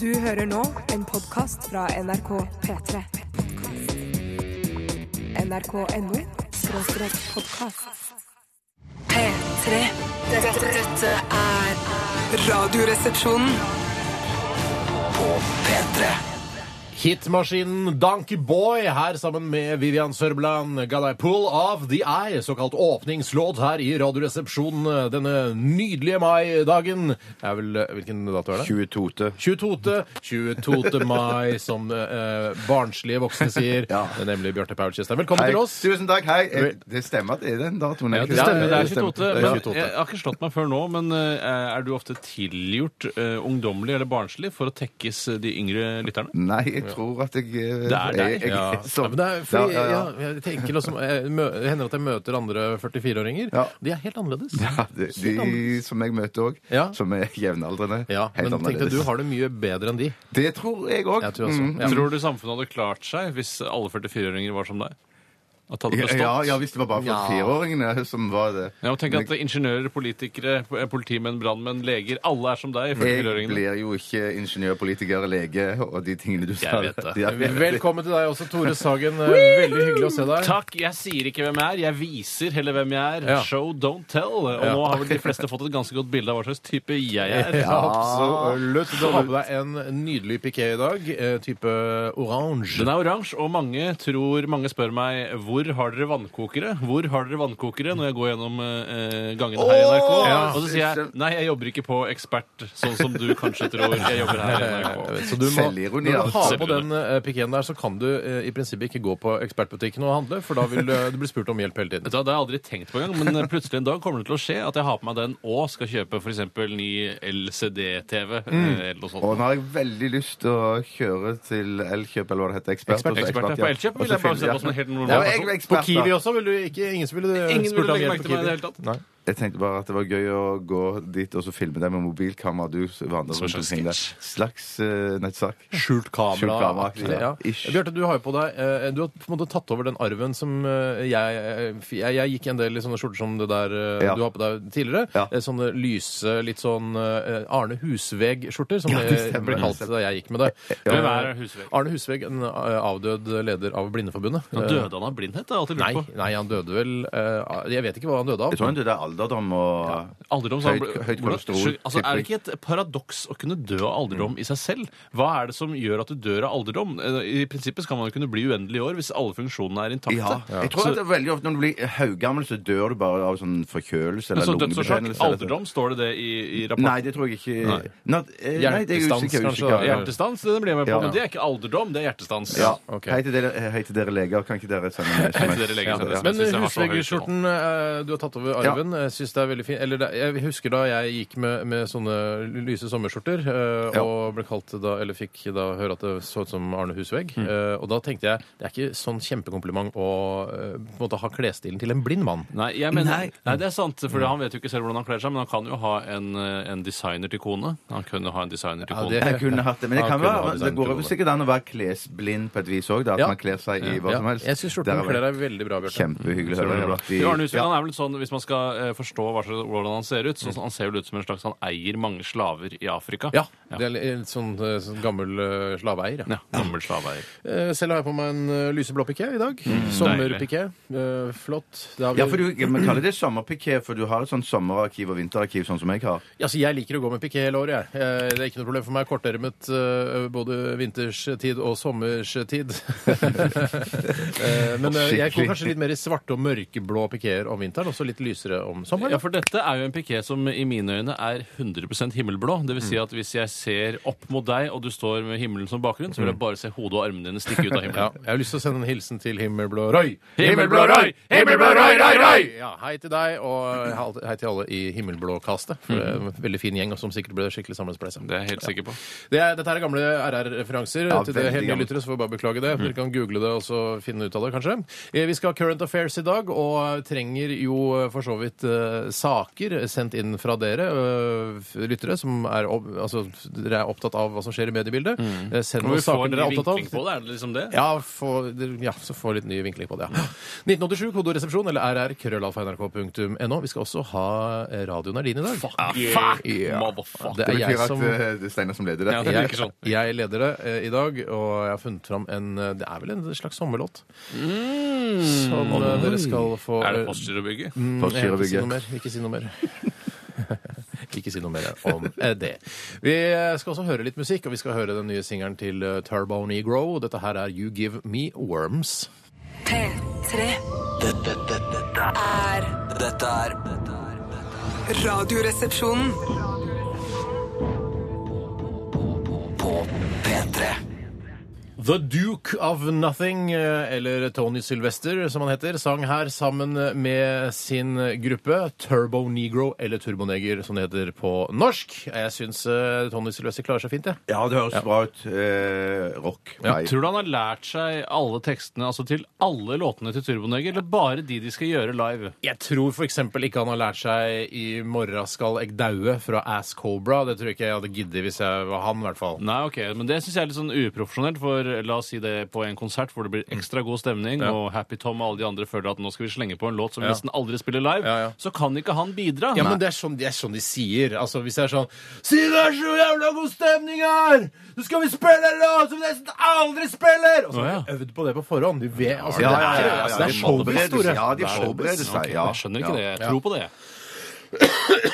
Du hører nå en podkast fra NRK P3. NRK.no skråstrek podkast. P3. Dette, dette er Radioresepsjonen. Hitmaskinen Donkey Boy her sammen med Vivian Sørbeland. Ga deg pull of the eye, såkalt åpningslåt her i Radioresepsjonen denne nydelige mai-dagen. Er vel, eh, Hvilken dato er det? 22. 22. 22. mai, som eh, barnslige voksne sier. Ja. Nemlig Bjarte Paulskjestad. Velkommen Hei. til oss. Tusen takk. Hei. Eh, Det stemmer at det er den datoen. er Ja, ikke det stemmer. Det Ja, er 22. stemmer. Men Det er 22. jeg har ikke slått meg før nå, men eh, er du ofte tilgjort eh, ungdommelig eller barnslig for å tekkes de yngre lytterne? Nei, jeg tror at jeg eh, Det er deg, jeg- jeg- ja. sånn. Ja, men det er fordi, Ja, ja, ja, ja. jeg tenker også, jeg mø- det hender at jeg møter andre 44-åringer. Ja. De er helt annerledes. Ja, de, de som jeg møter òg, Ja. som er jevnaldrende. Ja, helt men tenkte annerledes. du har det mye bedre enn de. Det tror jeg Mm. òg. Jeg tror også. Ja. Tror du samfunnet hadde klart seg hvis alle 44-åringer var som deg? At det hadde bestått? Ja, ja, hvis det var bare for Ja. fireåringene som var det. Ja, og tenk at ingeniører, politikere, eh, politimenn, brannmenn, leger, alle er som deg. i Jeg 44-åringene. blir jo ikke ingeniør, politiker, lege og de tingene du sa. vet det. Ja, jeg vet det. Velkommen til deg også, Tore Sagen. Eh, Veldig hyggelig å se deg. Takk. Jeg sier ikke hvem jeg er, jeg viser heller hvem jeg er. Ja. Show, don't tell. Og Ja. nå har vel de fleste fått et ganske godt bilde av hva slags type jeg er. Absolutt. Du har med deg en nydelig piké i dag, eh, type oransje. Den er oransje, og mange tror, mange spør meg hvor har dere vannkokere Hvor har dere vannkokere når jeg går gjennom eh, gangen her i NRK. Åh! Og så sier jeg nei, jeg jobber ikke på Ekspert, sånn som du kanskje tror. Jeg jobber her i NRK. Så du må, Selvironi, når du altså. har på den eh, pikéen der, så kan du eh, i prinsippet ikke gå på Ekspertbutikken og handle, for da vil eh, du, du bli spurt om hjelp hele Vet tiden. du hva, Det har jeg aldri tenkt på engang, men eh, plutselig en dag kommer det til å skje at jeg har på meg den og skal kjøpe f.eks. ny LCD-TV eh, eller noe sånt. Og Mm. nå har jeg veldig lyst til å kjøre til Elkjøp, eller hva det heter. Ekspert. Ekspert. og så Ekspert, ja. ja. På Elkjøp Og så vil jeg bare finner se jeg- på som en helt normal Ja, men jeg person. er På ekspert, da. Kiwi også ville du ikke Ingen som ville eh, Ingen spurt ville om legge hjelp på merke til meg i Kiwi. det hele tatt. Nei. Jeg tenkte bare at det var gøy å gå dit og så filme deg med mobilkamera. Du som vandrer Som en rundt slags omkring der. sketsj. Slags eh, nettsak. Skjult kamera. Skjult kamera, aktig, ja. ja. Ish. Bjarte, du har jo på deg eh, Du har på en måte tatt over den arven som eh, jeg Jeg, jeg gikk i en del i sånne skjorter som det der eh, Ja. du har på deg tidligere. Ja. Eh, Sånne lyse, litt sånn eh, Arne Husveg-skjorter, som Ja, det det stemmer, ble det kalt da jeg gikk med det. Eh, Hvem er Arne Husveg? Arne Husveg, en eh, avdød leder av Blindeforbundet. Han Eh, døde han av blindhet? Det har jeg alltid Nei, lurt på. nei, han døde vel eh, Jeg vet ikke hva han døde av. Jeg tror det er alderdom og Alderdom, så han Høyt- ble- høyt hvordan- kolesterol, Skyld, altså, er det tipper ikke et paradoks å kunne dø av alderdom i seg selv? Hva er det som gjør at du dør av alderdom? Eh, I prinsippet skal man jo kunne bli uendelig i år hvis alle funksjonene er intakte. ja. Jeg tror at det er veldig ofte når du blir høygammel, så dør du bare av sånn forkjølelse eller Så Altså dødsårsak, lungebetennelse. eller så- alderdom, står det det i, i rapporten? Nei, det tror jeg ikke. Nei, eh, nei det er jeg Hjertestans, usikker. kanskje, usikker. da. Ja. Hjertestans, det blir jeg med på, Ja. men det er ikke alderdom, det er hjertestans. Ja. Ok. Hei, til dere, eh, hei til dere leger. Kan ikke dere sende meg Hei til dere leger, send Ja. SMS. Men Jeg synes jeg var så høy husveggerskjorten eh, du har tatt over Ja. arven, jeg syns det er veldig fin. Eller det, jeg husker da jeg gikk med, med sånne lyse sommerskjorter eh, Ja. og ble kalt da, eller fikk da høre at det så ut som Arne Husvegg. Mm. Eh, og da tenkte jeg det er ikke sånn kjempekompliment å eh, på en måte ha klesstilen til en blind mann. Nei, jeg mener, nei. Nei. det er sant, for han vet jo ikke selv hvordan han kler seg, men han kan jo ha en, eh, en designer til kone. Han kunne ha en designer til Ja, kone. det- Jeg kunne hatt det, men det, Ja, kan kunne være, hatt det, det går kunne. sikkert an å være klesblind på et vis òg. At Ja. man kler seg i hva Ja, som helst. jeg syns Der skjorten er vi. kler deg veldig bra, Bjarte. Kjempehyggelig å høre. at de- Jo, Arne Husvik Ja. han er vel sånn, Hvis man skal eh, forstå hva slags, hvordan han ser ut så så Han ser vel ut som en slags Han eier mange slaver i Afrika. Mm. Ja. Det er litt sånn, eh, sånn gammel eh, slaveeier. Ja. Ja, Gammel slaveeier. Eh, Selv har jeg på meg en eh, lyseblå piké i dag. Sommerpiké. Eh, Flott. Det har vi- Mm. Ja, for du, Man kaller det sommerpiké, for du har et sånt sommerarkiv og vinterarkiv, sånn som jeg har. Ja, så jeg liker å gå med piké hele året. jeg. Eh, Det er ikke noe problem for meg. Kortermet eh, både vinterstid og sommerstid. Eh, Men eh, jeg går kanskje litt mer i svarte og mørkeblå pikéer om vinteren, og så litt lysere om sommeren. Ja, For dette er jo en piké som i mine øyne er 100 himmelblå. Det vil Mm. si at hvis jeg ser opp mot deg, og du står med himmelen som bakgrunn, så vil jeg bare se hodet og armene dine stikke ut av Mm. Ja, himmelen. jeg har lyst til å sende en hilsen til Himmelblå Roy. Himmelblå Roy! Himmelblå Roy, Roy, Roy! Ja, Hei til deg, og hei til alle i Himmelblå-kastet. For det er en veldig fin gjeng, og som sikkert ble skikkelig sammenspleisa. Mm. Det er jeg helt sikker på. Det er, dette her er gamle RR-referanser. Ja, til det veldig Mm. heldige gamle. lyttere, så får vi bare beklage det. Dere kan google det og så finne ut av det, kanskje. Eh, Vi skal ha Current Affairs i dag, og trenger jo eh, for så vidt eh, eh, saker sendt inn fra dere eh, f- lyttere, som er, opp, altså, dere er opptatt av hva som skjer i mediebildet. Mm. Eh, Send Når noen vi får saker en dere er opptatt vinkling av. på det, er det liksom det? Ja, få, ja, så få litt ny vinkling på det, ja. 1987, kodoresepsjon, eller rr.krøllalfa.nrk.no. Vi skal også ha eh, radioen er din i dag. Fuck! Fuck! Ja. Motherfucker. Det er Det betyr jeg at som eh, det er Steinar som leder det. Ja, det jeg, virker sånn. jeg leder det eh, i dag, og jeg har funnet fram en eh, Det er vel en slags sommerlåt som eh, dere skal få Er det eh, postgirobygget? På Nei, Ikke si noe Skyrobygget. mer. Ikke si noe mer. Ikke si noe mer om eh, det. Vi eh, skal også høre litt musikk, og vi skal høre den nye singelen til eh, Turbo Negro. Dette her er You Give Me Worms. P3 Dette, dette, dette, er- er dette er dette er- dette er Radioresepsjonen. På P3 The Duke of Nothing, eh, eller Tony Sylvester som han heter, sang her sammen med sin gruppe Turbo Negro, eller Turboneger som det heter på norsk. Jeg syns eh, Tony Sylvester klarer seg fint, jeg. Ja, det høres bra ut. Eh, rock. Nei. Tror du han har lært seg alle tekstene altså til alle låtene til Turboneger, eller bare de de skal gjøre live? Jeg tror f.eks. ikke han har lært seg 'I morra skal eg daue' fra Ass Cobra. Det tror jeg ikke jeg hadde giddet hvis jeg var han, i hvert fall. Nei, ok, men Det syns jeg er litt sånn uprofesjonelt. For la oss si det på en konsert hvor det blir ekstra god stemning, Ja. og Happy Tom og alle de andre føler at nå skal vi slenge på en låt som vi Ja. nesten aldri spiller live, Ja, ja. så kan ikke han bidra. Ja, men det er, sånn, det er sånn de sier. Altså, Hvis det er sånn 'Si det er så jævla god stemning her! Så skal vi spille en låt som vi nesten aldri spiller!' Og så har Å, de øvd på det på forhånd. De vet, altså, Ja, det ja, er, ja, ja, altså, ja, det er de showbiz, forbereder- Tore. Ja, de Det er forbereder showbiz. seg. Ok, ja. Jeg skjønner ikke Ja. det. Jeg tror på det.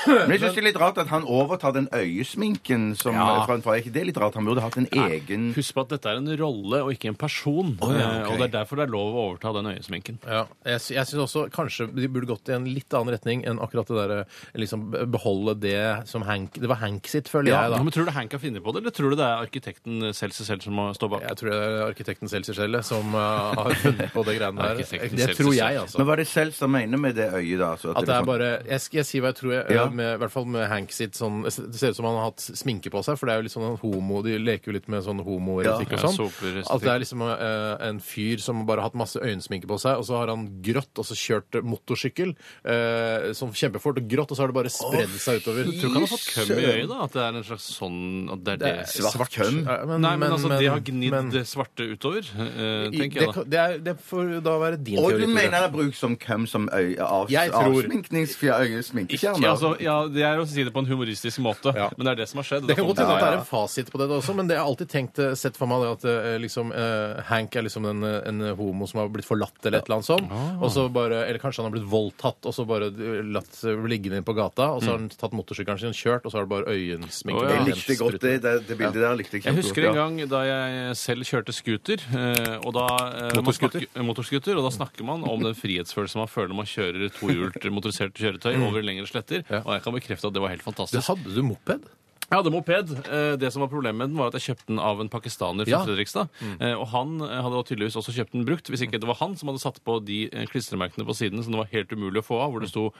Men jeg syns det er litt rart at han overtar den øyesminken som fra en forrige. Det er litt rart. Han burde hatt en egen Husk på at dette er en rolle og ikke en person. ja, eh, ok. Og det er derfor det er lov å overta den øyesminken. Ja, jeg, sy- jeg synes også kanskje de burde gått i en litt annen retning enn akkurat det derre liksom beholde det som Hank Det var Hank sitt, føler jeg, da. men Tror du Hank har funnet på det, eller tror du det er arkitekten selv seg selv som må stå bak? Jeg tror det er arkitekten selv seg selv som eh, har funnet på det greiene der. Arkitekten Det selv tror seg jeg, selv. altså. Men hva er det selv som mener med det øyet, da? Så At det er er sånn- bare Jeg skal jeg si hva jeg tror, jeg, eh, Ja. med, i hvert fall med Hank sitt sånn Det ser ut som han har hatt sminke på seg, for det er jo litt sånn en homo De leker jo litt med sånn homoerotikk Ja, og sånn. sopererotikk. At det er liksom eh, en fyr som bare har hatt masse øyensminke på seg, og så har han grått, og så kjørt motorsykkel eh, sånn kjempefort og grått, og så har det bare spredd seg utover. Tror ikke han har fått køm i øyet, da? At det er en slags sånn at det er det, Eh, svart køm? Ja, Nei, men, altså, de har gnidd men- det svarte utover, eh, det, tenker jeg da. kan- det, er, det får da være din Og teori. du Tore. mener det er brukt som hvem som øy, av, Jeg tror- Ikke, avsminkningsfjerner? altså, ja, det er å si det på en humoristisk måte, Ja. men det er det som har skjedd. Det kan Da godt kommer hende at det Ja, er ja. en fasit på det også, men det jeg har alltid tenkt, eh, sett for meg det at eh, liksom, eh, Hank er liksom en, eh, en homo som har blitt forlatt eller et eller annet sånt. Og så bare, eller kanskje han har blitt voldtatt og så bare eh, latt seg bli liggende på gata. Og så har han tatt motorsykkelen sin, kjørt, og så har det bare øyensminke. Å, ja. Jeg igjen, likte godt sprutt. det, det, det bildet der. likte Jeg, Jeg husker en kjempegodt, ja. gang da jeg selv kjørte scooter. eh, Og da, eh, man Motorscooter? snakker- eh, motorscooter, og da snakker man om den frihetsfølelsen man føler når man kjører tohjult motorisert Mm. kjøretøy over lengre sletter. Og jeg kan bekrefte at det var helt Du fantastisk. hadde du moped? Jeg hadde moped. Eh, Det som var Problemet med den var at jeg kjøpte den av en pakistaner fra Ja. Mm. Fredrikstad. Eh, Og han eh, hadde da tydeligvis også kjøpt den brukt, hvis ikke det var han som hadde satt på de eh, klistremerkene på siden som det var helt umulig å få av, hvor Mm. det sto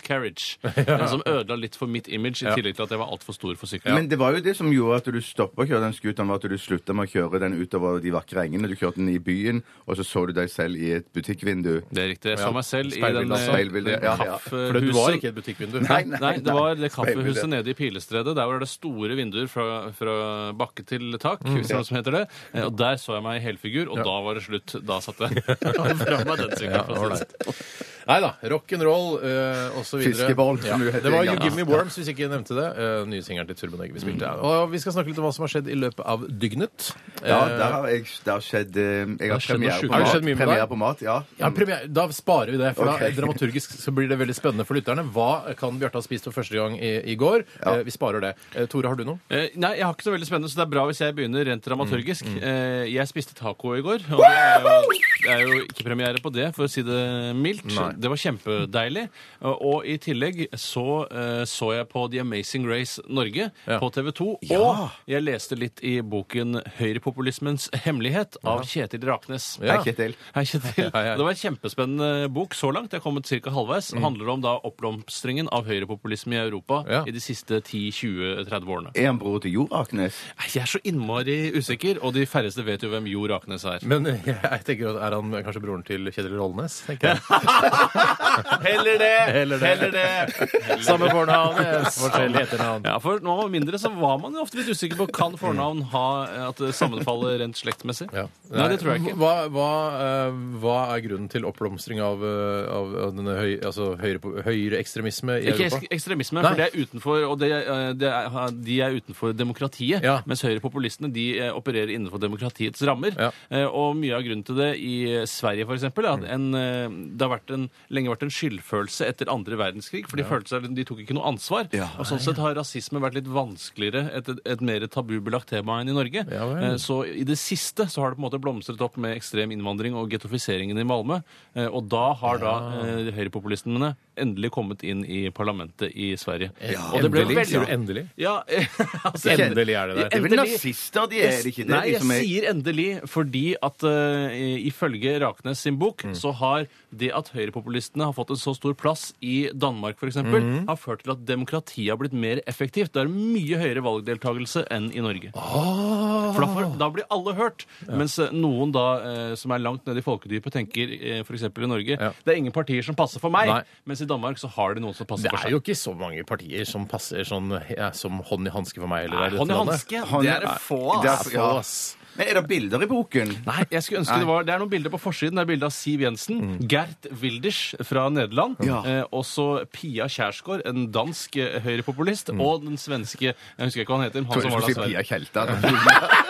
Carriage', eh, som ødela litt for mitt image, i tillegg til at jeg var altfor stor for sykkel. Men det var jo det som gjorde at du stoppa å kjøre den scooteren, var at du slutta med å kjøre den utover de vakre engene. Du kjørte den i byen, og så så du deg selv i et butikkvindu. Det er riktig. Jeg så Ja. meg selv i den, Speilbildet, eh, speilbildet, den ja, ja. kaffehuset. For du var ikke i et butikkvindu. Nei, nei. Nei, det var det kaffehuset speilbildet. nede i Pilestredet. Der hvor det er store vinduer fra, fra bakke til tak. hvis det er noe som heter det. Eh, Og der så jeg meg i helfigur, og da var det slutt. Da satt jeg fra meg den Ja, sykkelen. for å si det. sånn. ålreit. Nei da. Rock'n'roll uh, osv. Fiskeball, som du heter Det var en You gang. Give Me Worms, hvis ikke jeg nevnte det. Uh, nye singelen til Turbanegg vi spilte. Og vi skal snakke litt om hva som har skjedd i løpet av dygnet. Mm. Ja, Eh, der har jeg, det har skjedd eh, Jeg har skjedd noe premiere sjukt. på Har det mat. skjedd mye med premiere deg? på mat, ja. Ja, premiere, da sparer vi det, for Ok. da dramaturgisk så blir det veldig spennende for lytterne. Hva kan Bjarte ha spist for første gang i, i går? Eh, vi sparer det. Eh, Tore, har du noe? Eh, Nei, jeg har ikke så veldig spennende, så det er bra hvis jeg begynner Mm, rent dramaturgisk. Eh, Jeg spiste taco i går, og det er, jo, det er jo ikke premiere på det, for å si det mildt. Det var kjempedeilig. Og og i tillegg så eh, så jeg på The Amazing Race Norge Ja. på TV 2. Og jeg leste litt i boken Høyrepopulismens hemmelighet av Kjetil Raknes. Hei, Kjetil. Hei, Kjetil. Hei, hei. Det var en kjempespennende bok så langt. Jeg er kommet ca. halvveis. Mm. Det handler om da oppblomstringen av høyrepopulisme i Europa Ja. i de siste 10-20-30 årene. Er han bror til Jo Raknes? Nei, Jeg er så innmari usikker, og de færreste vet jo hvem Jo Raknes er. Men eh, jeg tenker at er han kanskje broren til Kjetil Rollnes, tenker jeg. Heller det! Heller det. Heller det. Samme fornavn, yes. forskjellig etternavn. Ja, for når man var mindre, så var man jo ofte litt usikker på kan fornavn ha at det sammenfaller rent slektsmessig. Ja. Nei, det tror jeg ikke. Hva, hva, eh, hva er grunnen til oppblomstring av, eh, av, av denne høy, altså høyre, høyreekstremisme i Ikke Europa? eks- ekstremisme, Nei. for det er utenfor, og det, eh, det er, de er utenfor demokratiet. Ja. Mens høyrepopulistene de eh, opererer innenfor demokratiets rammer. Ja. Mm. Eh, Og mye av grunnen til det i Sverige, f.eks., er at en, eh, det har vært en, lenge vært en skyldfølelse etter andre verdenskrig. For de følte seg, de tok ikke noe ansvar. og Sånn sett har rasisme vært litt vanskeligere, et, et, et mer tabubelagt tema enn i Norge. Ja vel. Eh, Så i det siste så har det på en måte blomstret opp med ekstrem innvandring og gettofiseringen i Malmö. Eh, Og da har da eh, høyrepopulistene endelig kommet inn i parlamentet i Sverige. og det ble endelig, veldig- sier du endelig? Ja, altså, Endelig er det Det der. er vel nazister, de er det ikke det? Nei, de jeg som er- sier endelig fordi at eh, ifølge Raknes sin bok så har det at høyrepopulistene har fått en så stor plass i Danmark f.eks., eksempel, har ført til at demokratiet har blitt mer effektivt. Det er mye høyere valgdeltakelse enn i Norge. For da, får, da blir alle hørt. Mens eh, noen da eh, som er langt nede i folkedypet, tenker eh, f.eks. i Norge Ja. det er ingen partier som passer for meg. Nei. Mens i Danmark så har de noen som passer Det for er seg. jo ikke så mange partier som passer sånn ja, som hånd i hanske for meg. Eller Nei, det er Hånd i dette landet. hanske, Hånd- det er det få Det av. Det er er for- få, ja. ass. Men er det bilder i boken? Nei, Mm. jeg skulle ønske det var Det er noen bilder på forsiden. Det er bilde av Siv Jensen, Gert Wilders fra Nederland, Ja. eh, og så Pia Kjærsgaard, en dansk eh, høyrepopulist, og den svenske Jeg husker ikke hva han heter. men Han Tror som var jeg da skulle si Pia Sverige. Kjelta.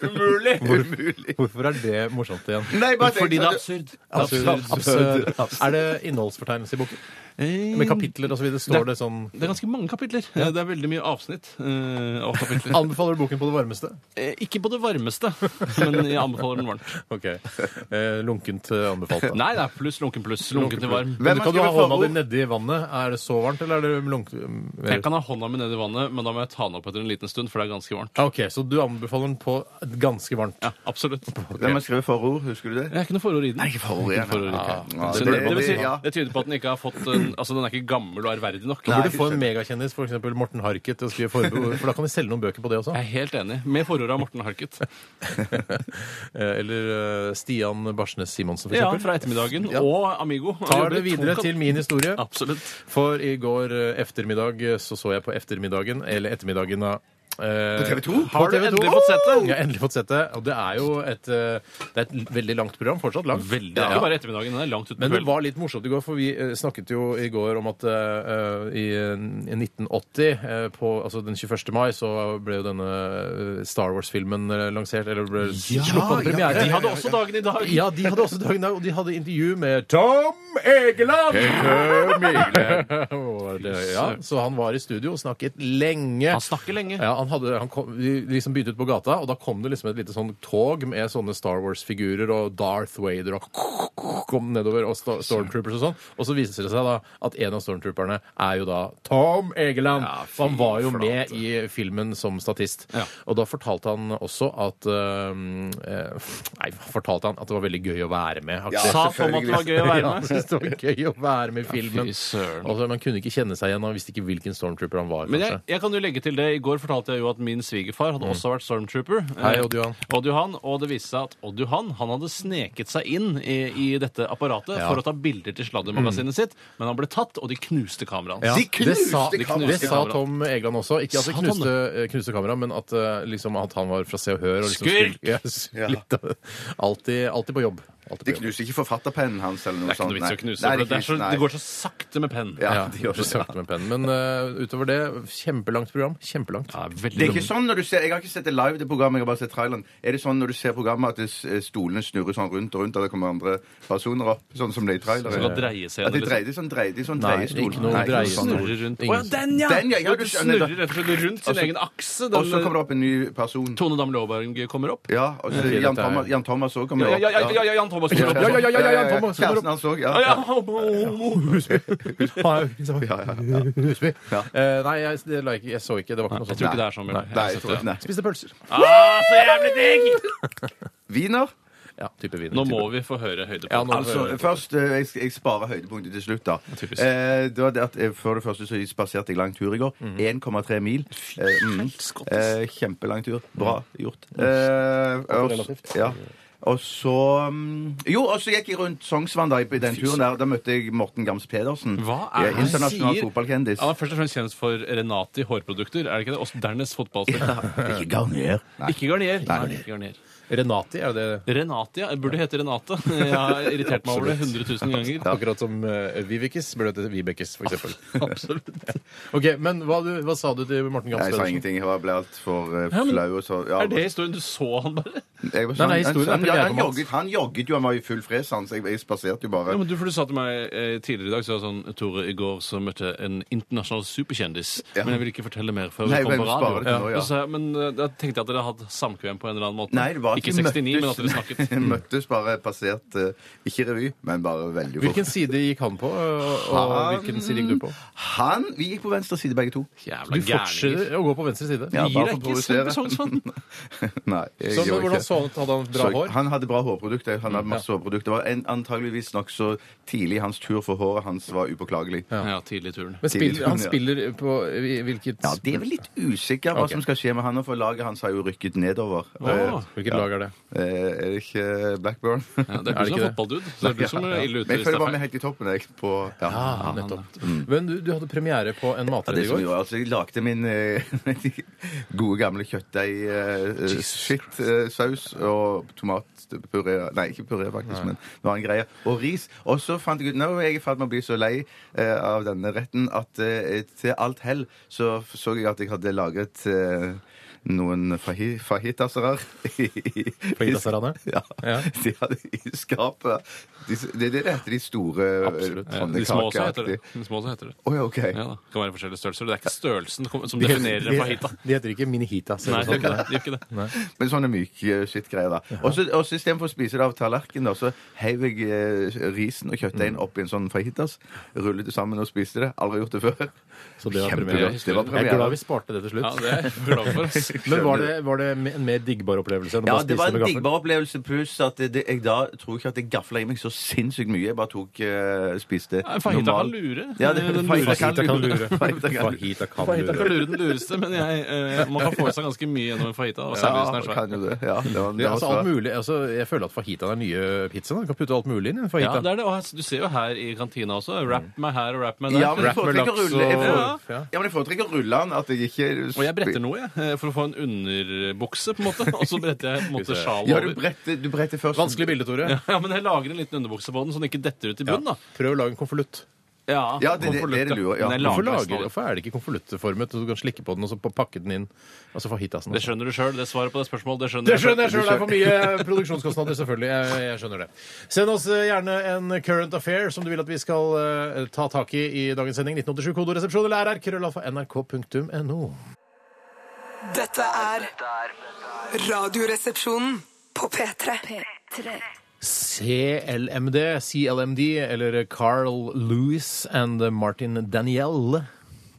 Umulig! Umulig. Hvorfor er det morsomt igjen? Altså, Nei, bare Fordi det er tenk absurd. Absurd. Absurd. Er det innholdsfortegnelse i boken? Med kapitler og så videre? Står det sånn Eh, Det er ganske mange kapitler. Eh, Det er veldig mye avsnitt. eh, av kapitler. Anbefaler du boken på det varmeste? Eh, Ikke på det varmeste, men jeg anbefaler den varmt. Ok. Eh, lunkent eh, anbefalt. da. Nei, det er pluss, lunken pluss. Lunken til varm. Hvem Men har kan du ha skrevet hånda di forord? nedi vannet? Er det så varmt, eller er det lunkent? Jeg kan ha hånda mi nedi vannet, men da må jeg ta den opp etter en liten stund, for det er ganske varmt. Ah, Ok, så du anbefaler den på ganske varmt. Ja, absolutt. Hvem har skrevet forord? Husker du det? Jeg er ikke noe forord i den. Nei, ikke forord igjen. Forord, ikke. Ah, ah, Så det- det, det, det- betyr, ja. det tyder på at den ikke har fått en, Altså, den er ikke gammel og ærverdig nok. Du burde få en megakjendis, f.eks. Morten Harket, til å skrive forord, for da kan de selge noen bøker på det også. Jeg er helt enig. Med forordet av Morten Harket. Eh, Eller eh, Stian Barsnes Simonsen, Ja, f.eks. fra ettermiddagen. Og Amigo. Tar det videre til min historie. Absolutt. For i går eh, eftermiddag eh, så så jeg på Eftermiddagen, eller Ettermiddagen av eh, På TV 2? Har du TV2? endelig fått sett det? Jeg har endelig fått sett det. Og det er jo et, eh, det er et veldig langt program. Fortsatt langt. Veldig. Det er Ja. ikke bare ettermiddagen. Den er langt ut på Men det kvelden. var litt morsomt i går, for vi eh, snakket jo i går om at eh, i eh, 1980, eh, på, altså den 21. mai, så ble jo denne eh, Star Wars-filmen eh, lansert, eller ble sluppet ja, premiere. De hadde også dagen i dag. Ja, de hadde også dagen i dag, og de hadde intervju med Tom Egeland! Og det, ja, så han var i studio og snakket lenge. Han snakker lenge. Ja, han hadde, han kom, de liksom begynte ut på gata, og da kom det liksom et lite sånn tog med sånne Star Wars-figurer og Darth Vader og kom nedover, og Sta- Stormtroopers og sånn. Og så viser det seg da at en av stormtrooperne er jo da Tom Egeland. Ja, for han var jo fy med i filmen som statist. Ja. Og da fortalte han også at øhm, eh, Nei, fortalte han at det var veldig gøy å være med. aktig. Ja, Sa Tom at det var gøy å Ja, være han med. syntes det var gøy å være med i filmen. fy søren. Altså, man kunne ikke kjenne seg igjen, han visste ikke hvilken stormtrooper han var. Men jeg, kanskje. jeg kan jo legge til det. I går fortalte jeg jo at min svigerfar hadde også vært stormtrooper. Eh, Hei, Odd Johan. Odd Johan. Og det viste seg at Odd Johan han hadde sneket seg inn i, i dette apparatet Ja. for å ta bilder til sladdermagasinet sitt, men han ble tatt, og de knuste kameraet hans. Ja, De knuste det sa, kameraet. det sa Tom Egeland også. Ikke at Sa det Tom knuste, knuste kameraet, men at, eh, liksom, at han var fra Se og Hør. Og liksom Skurk! skulle- Ja, s- Ja. litt, av- alltid, alltid på jobb. Alltid De på jobb. knuser ikke forfatterpennen hans eller Det noe er ikke sånt. noe vits nei. å knuse. Nei, for det, er så, knuser, nei. det går så sakte med penn. Ja, Ja, de gjør det det. sakte med pennen. Men eh, utover det, kjempelangt program. Kjempelangt. Ja, veldig Det er ikke sånn når du ser, Jeg har ikke sett det live, det programmet. jeg har bare sett traileren. Er det sånn når du ser programmet at det- eh, stolene snurrer sånn rundt og rundt, og det kommer andre personer opp? Sånn som det er i traileren? Skal dreie seg, At de liksom. dreier de sånn dreier de sånn Nei, dreiestol. ikke noe dreie- dumt. Snurrer rundt. Å ja, den, ja! Den, ja, ja, Ja, du du skjønner det. snurrer rett og slett rundt sin egen akse. Og så Den, kommer det opp en ny person. Tone Dam Laaberg kommer opp. Ja, og så dette Jan er- Thomas- Jan Thomas òg kommer Ja, opp. ja, ja, ja, ja, Jan Thomas kommer opp. Ja, ja, ja, ja, ja, Jan Thomas kommer Kjæresten opp. hans òg. Ja. Ja, ja. ja. Ja, ja, ja. Husby. Ja. Eh, Nei, jeg, det la jeg, ikke- jeg så ikke. Det var ikke noe Jeg sånt. tror ikke det er sånn. Bjørn. Nei, Jeg jeg tror har sett ikke det. nei. Spiste pølser. Ah, så jævlig digg! Wiener. Ja, type vin. Nå type- må vi få høre høydepunkt. Ja, nå- Altså, først, eh, jeg, jeg sparer høydepunktet til slutt, da. Typisk. Eh, det var det at, eh, for det første så spaserte jeg lang tur i går. Mhm. 1,3 mil. Eh, mm. Skottis. Mhm. eh, kjempelang tur. Bra gjort. Eh, og- relativt. ja. Og så mm, Jo, og så gikk jeg rundt Sognsvann da, i i den turen der. Da møtte jeg Morten Gams Pedersen. Hva Ja, er det han Internasjonal sier? fotballkjendis. Han er først og fremst kjent for Renati hårprodukter, er det ikke det? Og dernest fotballspiller. Ikke Garnier. Ikke Garnier. Nei. Nei, ikke Garnier. Renati er jo det Renati, ja. Jeg Burde hete Renate. Jeg har irritert meg over det 100 000 ganger. Akkurat som eh, Vibekes burde hete Vibekes, for eksempel. Absolutt. Ok, men hva, du, hva sa du til Morten Gams Nei, jeg sa Pedersen? ingenting. Jeg var- ble altfor eh, men flau. Og så, ja, Er det historien? Du så han bare? jeg var Nei, sånn, nei, historien er han, ja, premiere han, på Mats. jogget, han jogget jo, han var i full fres, han, så jeg, jeg spaserte jo bare. Ja, men du, for du sa til meg eh, tidligere i dag så var det sånn, Tore, i går så møtte jeg en internasjonal superkjendis, Ja. men jeg vil ikke fortelle mer før vi Nei, kommer men på spare det radio. til nå, ja. Og så sa jeg, men eh, da tenkte jeg at dere hadde hatt samkvem på en eller annen måte. Nei, det var ikke at vi 69, men at dere Mm. møttes- snakket. møttes bare passert eh, Ikke revy, men bare veldig fort. Hvilken side gikk han på, og, og Han- hvilken side gikk du på? Han Vi gikk på venstre side, begge to. Du Jævla gærninger. fortsetter å gå på venstre side. Ja, Gir bare deg for å ikke sånn provosere. Sognsvann. Nei. jeg Så, men gjorde Sånn, hvordan ikke. så han ut? Hadde han bra Så hår? Mm, Han hadde bra hårprodukter. Han hadde masse hårprodukter. Det var en, antageligvis nokså tidlig hans tur, for håret hans var upåklagelig. Ja. Ja, tidlig i turen. Men spill, Tidlig, han ja. spiller på i- hvilket Det er vel litt usikker hva Ok. som skal skje med han, nå, for laget hans har jo rykket nedover. Åh. Hvilket lag er det? Eh, eh, er det ikke Blackburn? Ja, det er Er du det som ikke er det? fotballdude, så det er du sånn, som er ille ute. Men jeg føler bare Steffen. meg helt i toppen. Jeg, på, ja. Ah, nettopp. Men du, du hadde premiere på en Mm. Ja, matrett det i som går. gjorde, altså, jeg lagde min eh, gode gamle eh, kjøttdeig-skitt-saus eh, og tomatpuré Nei, ikke puré, faktisk, men noe annet greie. Og ris. Og så fant jeg ut Nå er jeg i ferd med å bli så lei eh, av denne retten at eh, til alt hell så f- så jeg at jeg hadde lagret eh, noen fahi, fahitaserer i, i, Fajitaserene? Ja. Ja. De hadde i skapet. De, det er det det heter, de store Eh, Absolutt. Ja, de små også heter det. pannekakeaktige. De små også heter det. Å ja, OK. Ja, da. Det kan være forskjellige størrelser. Det er ikke størrelsen kom- som definerer en fajita. De heter ikke Minihita. ser Nei, det sånn ut. det gjør ikke det. Det gjør ikke det. Men sånne myke skittgreier, da. Og så og så istedenfor å spise det av tallerkenen, da, så heiv jeg eh, risen og kjøttdeigen opp i en sånn fajitas, rullet det sammen og spiste det. Aldri gjort det før. Så det var premiere. Kjempegodt. Det var Jeg er glad vi premiere. sparte det til Ja, slutt. det er jeg glad for. ass. Men var det, var det en mer diggbar opplevelse enn å Ja, bare det spise var det en med gaffel? diggbar opplevelse, pluss at det, det, jeg da tror ikke at jeg gafla i meg så sinnssykt mye. Jeg bare tok eh, spiste Ja, en Fajita kan lure. Ja, det- Den fajita lureste- Fajita kan lure. Fajita kan lure. Fajita kan Fajita kan lure. lure den lureste, men jeg, eh, man kan få i seg ganske mye gjennom en fajita. Og servicen Ja, er svær. kan jo det. Ja, det var, Det det er var altså alt svært. mulig. Altså, jeg føler at fajitaen er den nye pizzaen. Du kan putte alt mulig inn i en Ja, fajita. det er det. Og her- du ser jo her i kantina også. Wrap meg her og wrap meg der. Mm. Ja, men Wrap jeg med foretrekker å laks rulle jeg og- fore- Ja. Ja, men jeg foretrekker å rulle den at jeg ikke Og jeg bretter noe, jeg, eh, for å få en underbukse, på en måte. Og så bretter jeg på en måte sjalen Ja, du over. bretter, du bretter først. Vanskelig bilde, Tore. Ja, men jeg lager en liten underbukse på den, så den ikke detter ut i bunnen, da. Prøv å lage en konvolutt. Ja, Ja, det- det- det er det lure, ja. Men jeg Hvorfor, lager lager, nesten aldri. hvorfor er det ikke konvoluttformet? så Du kan slikke på den og så pa- pakke den inn. Altså fajitasen. Det skjønner du sjøl. Det svaret på det spørsmålet, det skjønner Det du selv. skjønner jeg sjøl. Det er for mye produksjonskostnader, selvfølgelig. Jeg, jeg skjønner det. Send oss eh, gjerne en current affair som du vil at vi skal eh, ta tak i i dagens sending. 1987 kodoresepsjon eller RR. Krøllalfa nrk.no. Dette er Radioresepsjonen på P3. CLMD, CLMD, eller Carl Lewis and Martin Danielle.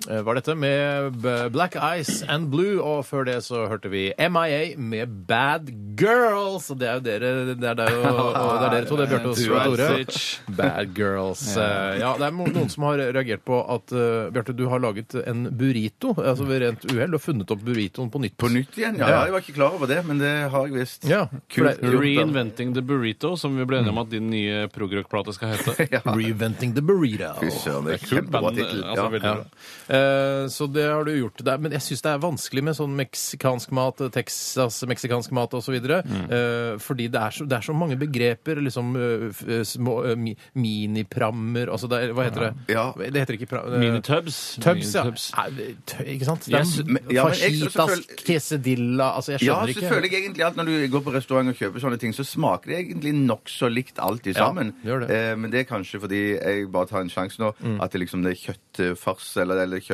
eh, Var dette med B- Black Eyes and Blue, og før det så hørte vi MIA med Bad Girls. Og det er jo dere, det er deg og, og det er dere to, det er Bjarte og Du er Tore. sitch. Bad Girls. Eh, Ja, det er mo- noen som har reagert på at eh, Bjarte, du har laget en burrito altså ved rent uhell og funnet opp burritoen på nytt. På nytt igjen? Ja, Ja. jeg var ikke klar over det, men det har jeg visst. Ja, for det- Kult. gjort, da. Reinventing the burrito, som vi ble enige om at din nye progrock-plate skal hete. Reventing the burrito. Fy søren, det er Kult kjempebra band, tittel. altså, veldig Ja. bra. Eh, Så det har du gjort. Det er- Men jeg syns det er vanskelig med sånn meksikansk mat, eh, Texas meksikansk mat osv. videre Mm. eh, Fordi det er, så, det er så mange begreper. Liksom eh, f- eh, små eh, mi- miniprammer altså det er, Hva heter det? Ja. Det heter ikke pra- eh, Minitubs. Tubs, ja. Minitubs. Er det tø- Ikke sant? Det Jeg er sy- men- ja, men jeg- så fajitas, føl- quesadilla Altså, jeg Ja, skjønner så ikke. føler jeg egentlig at når du går på restaurant og kjøper sånne ting, så smaker det egentlig nokså likt alt i sammen. det gjør det. Eh, men det er kanskje fordi jeg bare tar en sjanse nå, at det liksom det er kjøttfars eller, eller kjøtt...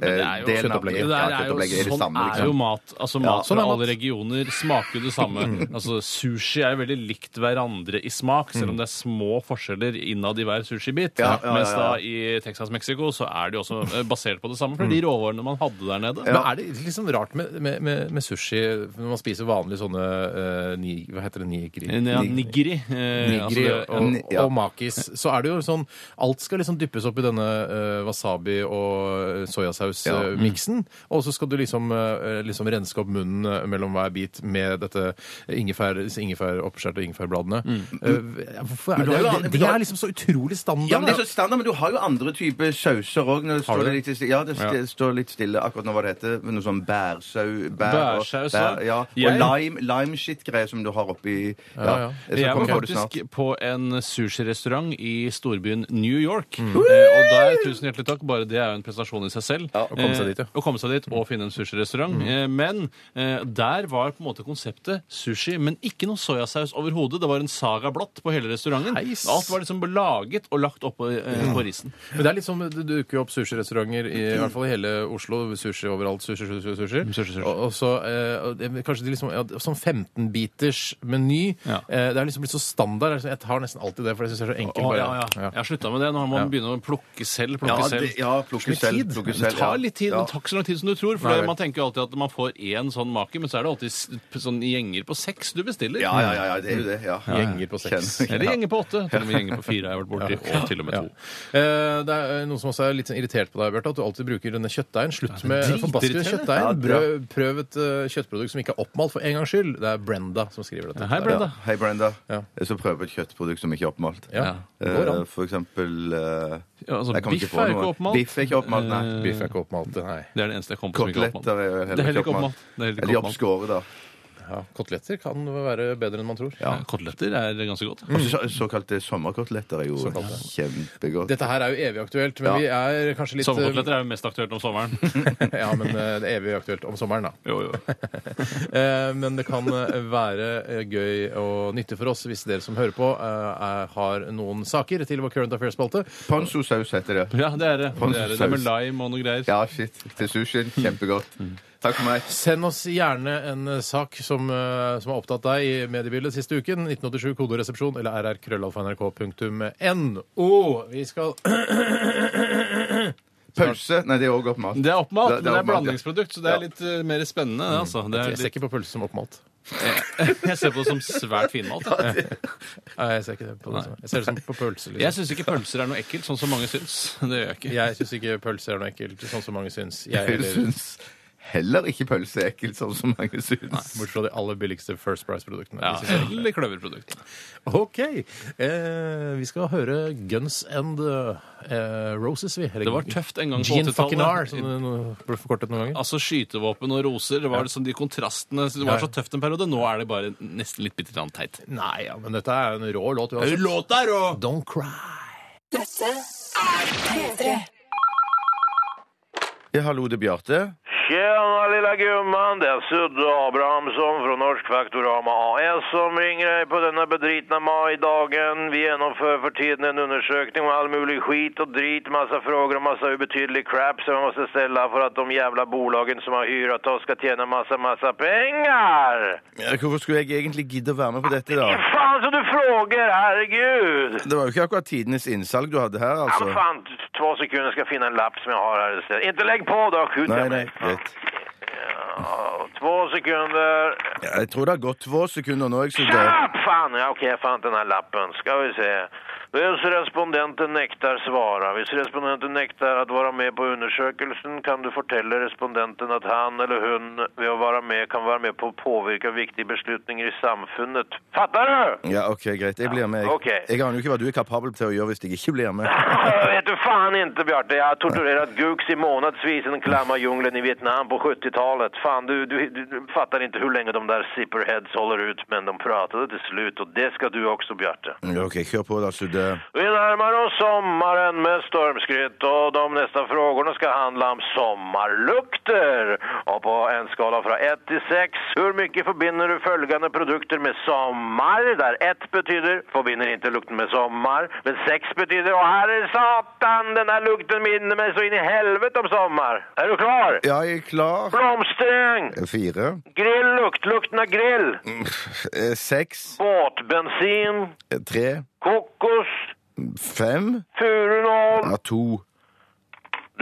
eh, Men det er jo delen av- kjøttopplegget. Ja, Det er jo- kjøttopplegget er det sånn samme, er jo liksom. mat. Altså Mat sånn er fra alle mat. regioner smaker jo det Mm. samme. Altså Sushi er jo veldig likt hverandre i smak, selv om det er små forskjeller innad i hver sushibit. Mm. Ja, ja, ja, Mens da ja. Mm. i Texas, Mexico, så er det jo også eh, basert på det samme, for de råvarene man hadde der nede. Men er det liksom rart med, med, med, med sushi når man spiser vanlig sånne eh, ni, Hva heter det? Nigri? Ja, nigiri. eh, Nigri altså det- og, Ni- ja. og makis. Så er det jo sånn Alt skal liksom dyppes opp i denne eh, wasabi og soyasaus Mm. ingefærsausmiksen. Og så skal du liksom, eh, liksom renske opp munnen eh, mellom hver bit med dette ingefær, disse ingefær, oppskjærte ingefærbladene. Eh, hvorfor er Mm. Men du det, har jo det, an- det er liksom så utrolig standard. Ja, men det er da. så standard, men du har jo andre typer sauser òg. Har du Det litt, stille- ja, det st- Ja. står litt stille akkurat nå hva det heter. men Noe sånn bærsau bær, og- Bærsaus, bær, ja. ja. Og lime, lime shit-greier som du har oppi Ja, Ja, ja. Så Jeg var kommer på det snart. faktisk på en sushirestaurant i storbyen New York. Eh, Og der, tusen hjertelig takk, bare det er jo en prestasjon i seg selv. Ja, å komme seg dit, ja. Eh, Å komme seg dit og finne en sushirestaurant. Eh, Men eh, der var på en måte konseptet sushi, men ikke noe soyasaus overhodet. Det var en saga blått på hele restauranten. Heis. Alt var liksom laget og lagt oppå eh, på risen. Men det er litt som det dukker jo opp sushirestauranter i, i hvert fall i hele Oslo. Sushi overalt. Sushi, sushi, sushi. sushi, sushi. Og, og så eh, og det- kanskje de liksom ja, Sånn 15-biters meny. Ja. Eh, det er liksom blitt så standard. Det er liksom- Jeg tar nesten alltid det, for jeg syns det er så enkelt. Å, bare. ja, ja. Jeg har slutta med det. Nå må man begynne å plukke selv. Plukke Ja, selv. det, ja plukke selv. tid. Plukke Det selv ja. tar litt tid, men det tar ikke så lang tid som du tror. For Nei, det- vel. Man tenker jo alltid at man får én sånn make, men så er det alltid s- sånn gjenger på seks du bestiller. Ja, ja, ja, ja, det er jo det. Ja. Gjenger på seks. Kjenner- Eller gjenger på åtte. Til og med gjenger på fire har jeg vært borti. Og til og med Ja. to. Eh, Det er noen som også er litt sånn irritert på deg, Bjarte, at du alltid bruker denne kjøttdeigen. Slutt med den forbaskede dritirriterende. kjøttdeigen. Ja, Prøv, prøv et eh, kjøttprodukt som ikke er oppmalt, for en gangs skyld. Det er Brenda som skriver dette. Hei, Brenda. Ja. Hei, Brenda. Ja. Jeg skal prøve et kjøttprodukt som ikke er oppmalt. Ja. Det går Eh, an. For eksempel eh, Ja, altså, jeg kommer biff på er jo noe. ikke oppmalt. Biff er ikke oppmalt, nei. Eh, Biff er ikke oppmalt, nei. Det er det eneste jeg kom på som ikke Koteletter er oppmalt. er jo Det er heller ikke oppmalt. Det er heller Eller ikke de oppmalt. oppskåret, da. Ja, koteletter kan være bedre enn man tror. Ja, Koteletter er ganske godt. Og så, såkalte Mm. sommerkoteletter er jo Såkalte. kjempegodt. Dette her er jo evig aktuelt, men Ja. vi er kanskje litt eh, Sommerkoteletter er jo mest aktuelt om sommeren. Ja, men eh, det er evig aktuelt om sommeren, da. Jo, jo. Eh, Men det kan eh, være eh, gøy og nyttig for oss hvis dere som hører på, eh, er- har noen saker til vår Current Affairs-spalte. Ponzo-saus heter det. Ja, det er det. Det er, det. det er med lime og noe greier. Ja, shit. Til sushien. Kjempegodt. Takk for meg. Send oss gjerne en eh, sak som, eh, som har opptatt deg i mediebildet siste uken. 1987 kodoresepsjon eller rrkrøllalfa.nrk.no. Vi skal Pause. Nei, det er òg oppmalt. Det er oppmalt, Det- men det er oppmalt, det er ja. blandingsprodukt, så det er Ja. Mm. litt eh, mer spennende. det, Altså. Det er Jeg ser litt, ikke på pølse som oppmalt. jeg ser på det som svært finmalt. jeg. Nei, jeg ser ikke det på det. Nei. som- Jeg ser det som på pølse. Jeg Liksom. syns ikke pølser er noe ekkelt, sånn som mange syns. Det gjør jeg ikke. Jeg syns ikke pølse er noe ekkelt, sånn som mange syns. Jeg Jeg heller. syns heller ikke pølse er ekkelt, sånn som mange syns. Bortsett fra de aller billigste First Price-produktene. Ja, De synes jeg er ekkelt. Eller kløverprodukt. OK. Eh, vi skal høre Guns and eh, Roses, vi. Eller Det var tøft en gang på Gene fucking R, 80-tallet. som det nå ble forkortet noen ganger. Altså Skytevåpen og roser. Det var liksom de kontrastene. Det var så tøft en periode. Nå er det bare nesten litt bitte grann teit. Nei, ja, men dette er jo en rå låt uansett. Låta er rå! Don't cry. Dette er P3. Ja, hallo, det er Bjarte. Tjena lilla gumman, det är Sudde Abrahamsson från Norsk Faktorama AS som ringer dig på denna bedritna majdagen. Vi genomför för tiden en undersökning om all mulig skit och drit, massa frågor och massa obetydlig crap som man måste ställa för att de jävla bolagen som har hyrat oss ska tjäna massa, massa pengar! Ja, Hvorfor skulle jeg egentlig gidde å være med på dette, da? Fan så du frågar, herregud! Det var jo ikke akkurat tidenes innsalg du hadde her, altså. Ja, men fan, t- två sekunder ska jag finna en lapp som jag har här istället. Inte lägg på då, skjut Nei, jag nei, mig. greit. Ja, Två sekunder. Ja, Jeg tror det har gått få sekunder nå. jeg så det. Tja, fan! Ja, okej, jag fann inte den här lappen. Ska vi se. Hvis respondenten nektar svara, hvis respondenten nektar att vara med på undersökelsen kan du fortälla respondenten att han eller hon ved att vara med kan vara med på att påverka viktiga beslutningar i samfundet. Fattar du? Ja, OK, greit. Jeg blir med. Jeg, Ok. jeg aner jo ikke hva du er kapabel til å gjøre hvis jeg ikke blir med. Jag vet du fan inte Bjarte, jag har torturerat Gux i månadsvis i den klamma djungeln i Vietnam på 70-talet. Fan, du, du, du, du fattar inte hur länge de där zipperheads håller ut, men de pratade til slut och det ska du också Bjarte. Ja, OK, kjør på, da, Sudde. Vi närmar oss sommaren med stormskritt och de nästa frågorna ska handla om sommarlukter. Och på en skala från 1 till 6, hur mycket förbinder du följande produkter med sommar? Där 1 betyder förbinder inte lukten med sommar, men 6 betyder åh herre satan, den här lukten minner mig så in i helvete om sommar. Är du klar? Ja, jeg er klar. Blomsträng, Fire. grilllukt, lukten av grill, Eh, Seks. båtbensin, Eh, Tre. kokos, Fem. furunål, Ja, to.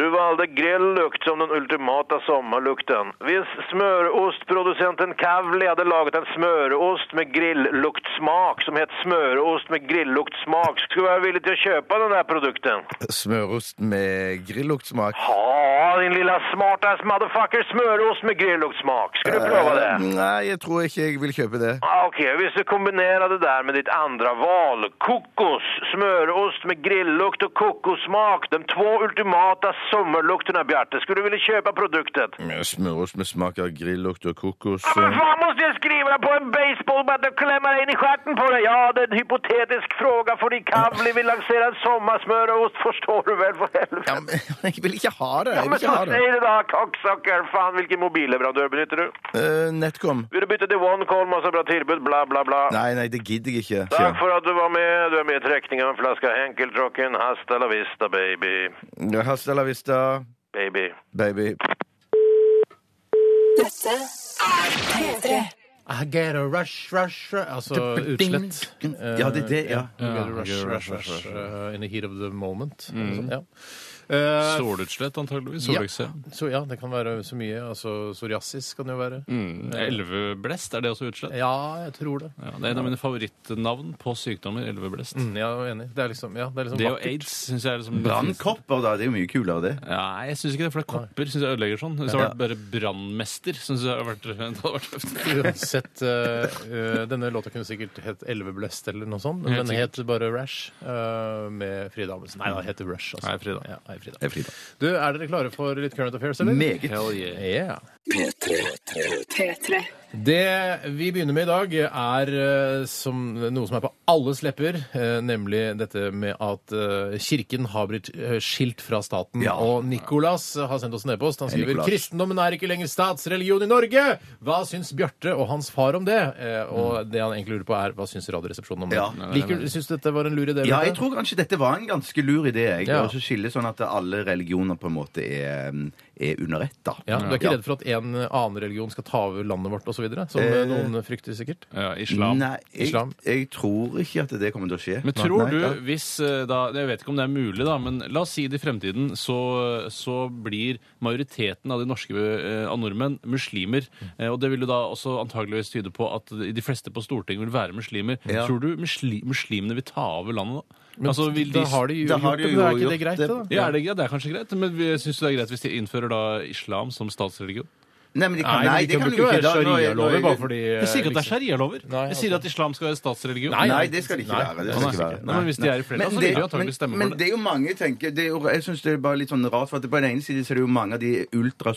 Du valde grilllukt som den ultimata sommarlukten. Hvis smørostprodusenten Kavli hade lagat en smörost med grillluktsmak som het smörost med grillluktsmak skulle jag vara villig till att köpa den här produkten. Smørost med grilluktsmak. Ja, din lilla smartass motherfucker, smörost med grillluktsmak. Ska du prova det? Nei, jeg tror ikke jeg vil kjøpe det. Ah, Okej, visst du kombinerar det där med ditt andra val. Kokos, smörost med grilllukt och kokossmak. De två ultimata sommarlukterna, Bjarte. Skulle du vilja köpa produkten? Smørost med smak av grillukt og kokos. Ja, men fan måste jag skriva på en baseballbatt och klämma in i stjärten på dig? Ja, det är en hypotetisk fråga för din Kavli vill lansera en sommarsmörost, förstår du väl för helvete? Ja, men jeg vil ikke ha det. Ja, Jeg men vil så ikke ha det. säg det då, kocksocker! Fan, vilken mobilleverantör benyttar du? Eh, Netcom. Vill du byta till OneCall, massa altså bra tillbud, bla bla bla. Nei, nei, det gidder jeg ikke. sier han. Tack för att du var med. Du är med i träckningen av en flaska Henkeltrocken. Hasta la vista, baby. Ja, Hasta la vista, Baby. baby. Dette er P3. I get a rush, rush, rush Altså utslett. Eh, Ja, det er det, ja. I get a rush, rush, rush uh, in the heat of the moment. Sånn, ja. Eh, Solutslett, antageligvis. ja. Solveigse. Så, ja, det kan være så mye. Altså, psoriasis kan det jo være. Mm. Elveblest, er det også utslett? Ja, jeg tror det. Ja, det er en av mine favorittnavn på sykdommer. Elveblest. Mm, jeg er enig. Det er liksom, ja, det er liksom Det og vakkert. aids syns jeg er liksom Brannkopper, da. Det er jo mye kulere, det. Nei, jeg syns ikke det, for det er kopper syns jeg ødelegger sånn. Hvis det hadde vært bare brannmester, syns jeg hadde vært, det hadde vært tøft. Uansett, eh, eh, denne låta kunne sikkert hett Elveblest eller noe sånt. Men Helt den het bare Rash eh, med Frida Amundsen. Nei, den heter Rush. Altså. Hei, Frida. Ja, hei, Frida. Det er fint, da. Du, er dere klare for litt current affairs, eller? Meget. Hell yeah. Yeah. P3 P3. Det vi begynner med i dag, er eh, som, noe som er på alles lepper, eh, nemlig dette med at eh, kirken har blitt eh, skilt fra staten. Ja. Og Nicolas har sendt oss en e-post. Han skriver Nicolas. kristendommen er ikke lenger statsreligion i Norge! Hva syns Bjarte og hans far om det? Eh, Og det han egentlig lurer på, er hva syns Radioresepsjonen om det? Mm. Ja. Liker, du- syns du dette var en lur idé? Ja, Bjarte? jeg tror kanskje dette var en ganske lur idé. Jeg. Ja. Og så skille sånn at alle religioner på en måte er, mm, er under ett, da. Ja, Du er ikke redd for at en annen religion skal ta over landet vårt osv.? Som eh, Eh, noen frykter sikkert? Ja, islam. Nei, jeg, Islam? jeg tror ikke at det kommer til å skje. Men tror Nei, du, ja. hvis eh, da Jeg vet ikke om det er mulig, da, men la oss si det i fremtiden så, så blir majoriteten av de norske eh, av nordmenn muslimer. Eh, Og det vil jo da også antageligvis tyde på at de fleste på Stortinget vil være muslimer. Ja. Tror du musli muslimene vil ta over landet da? Men altså, vil de, da har de jo da gjort har det, de men er ikke jo det gjort greit, det. det, da? ja, er det, ja, det er kanskje greit, men syns du det er greit hvis de innfører da islam som statsreligion? Nei, men de kan, Nei, nei, men det kan bruke du ikke. Da- nå er- nå er- sharialover bare fordi Jeg sier ikke at det er liksom- sharialover. Nei, Jeg sier altså. at islam skal være statsreligion. Nei, Nei, det skal det ikke Nei, være. Det nei, skal ikke nei, være. nei, men hvis de er i flertall, Men så vil det- de jo antagelig men, stemme for det. Men det er jo mange tenker det er jo, Jeg syns det er bare litt sånn rart, for at på den ene siden så er det jo mange av de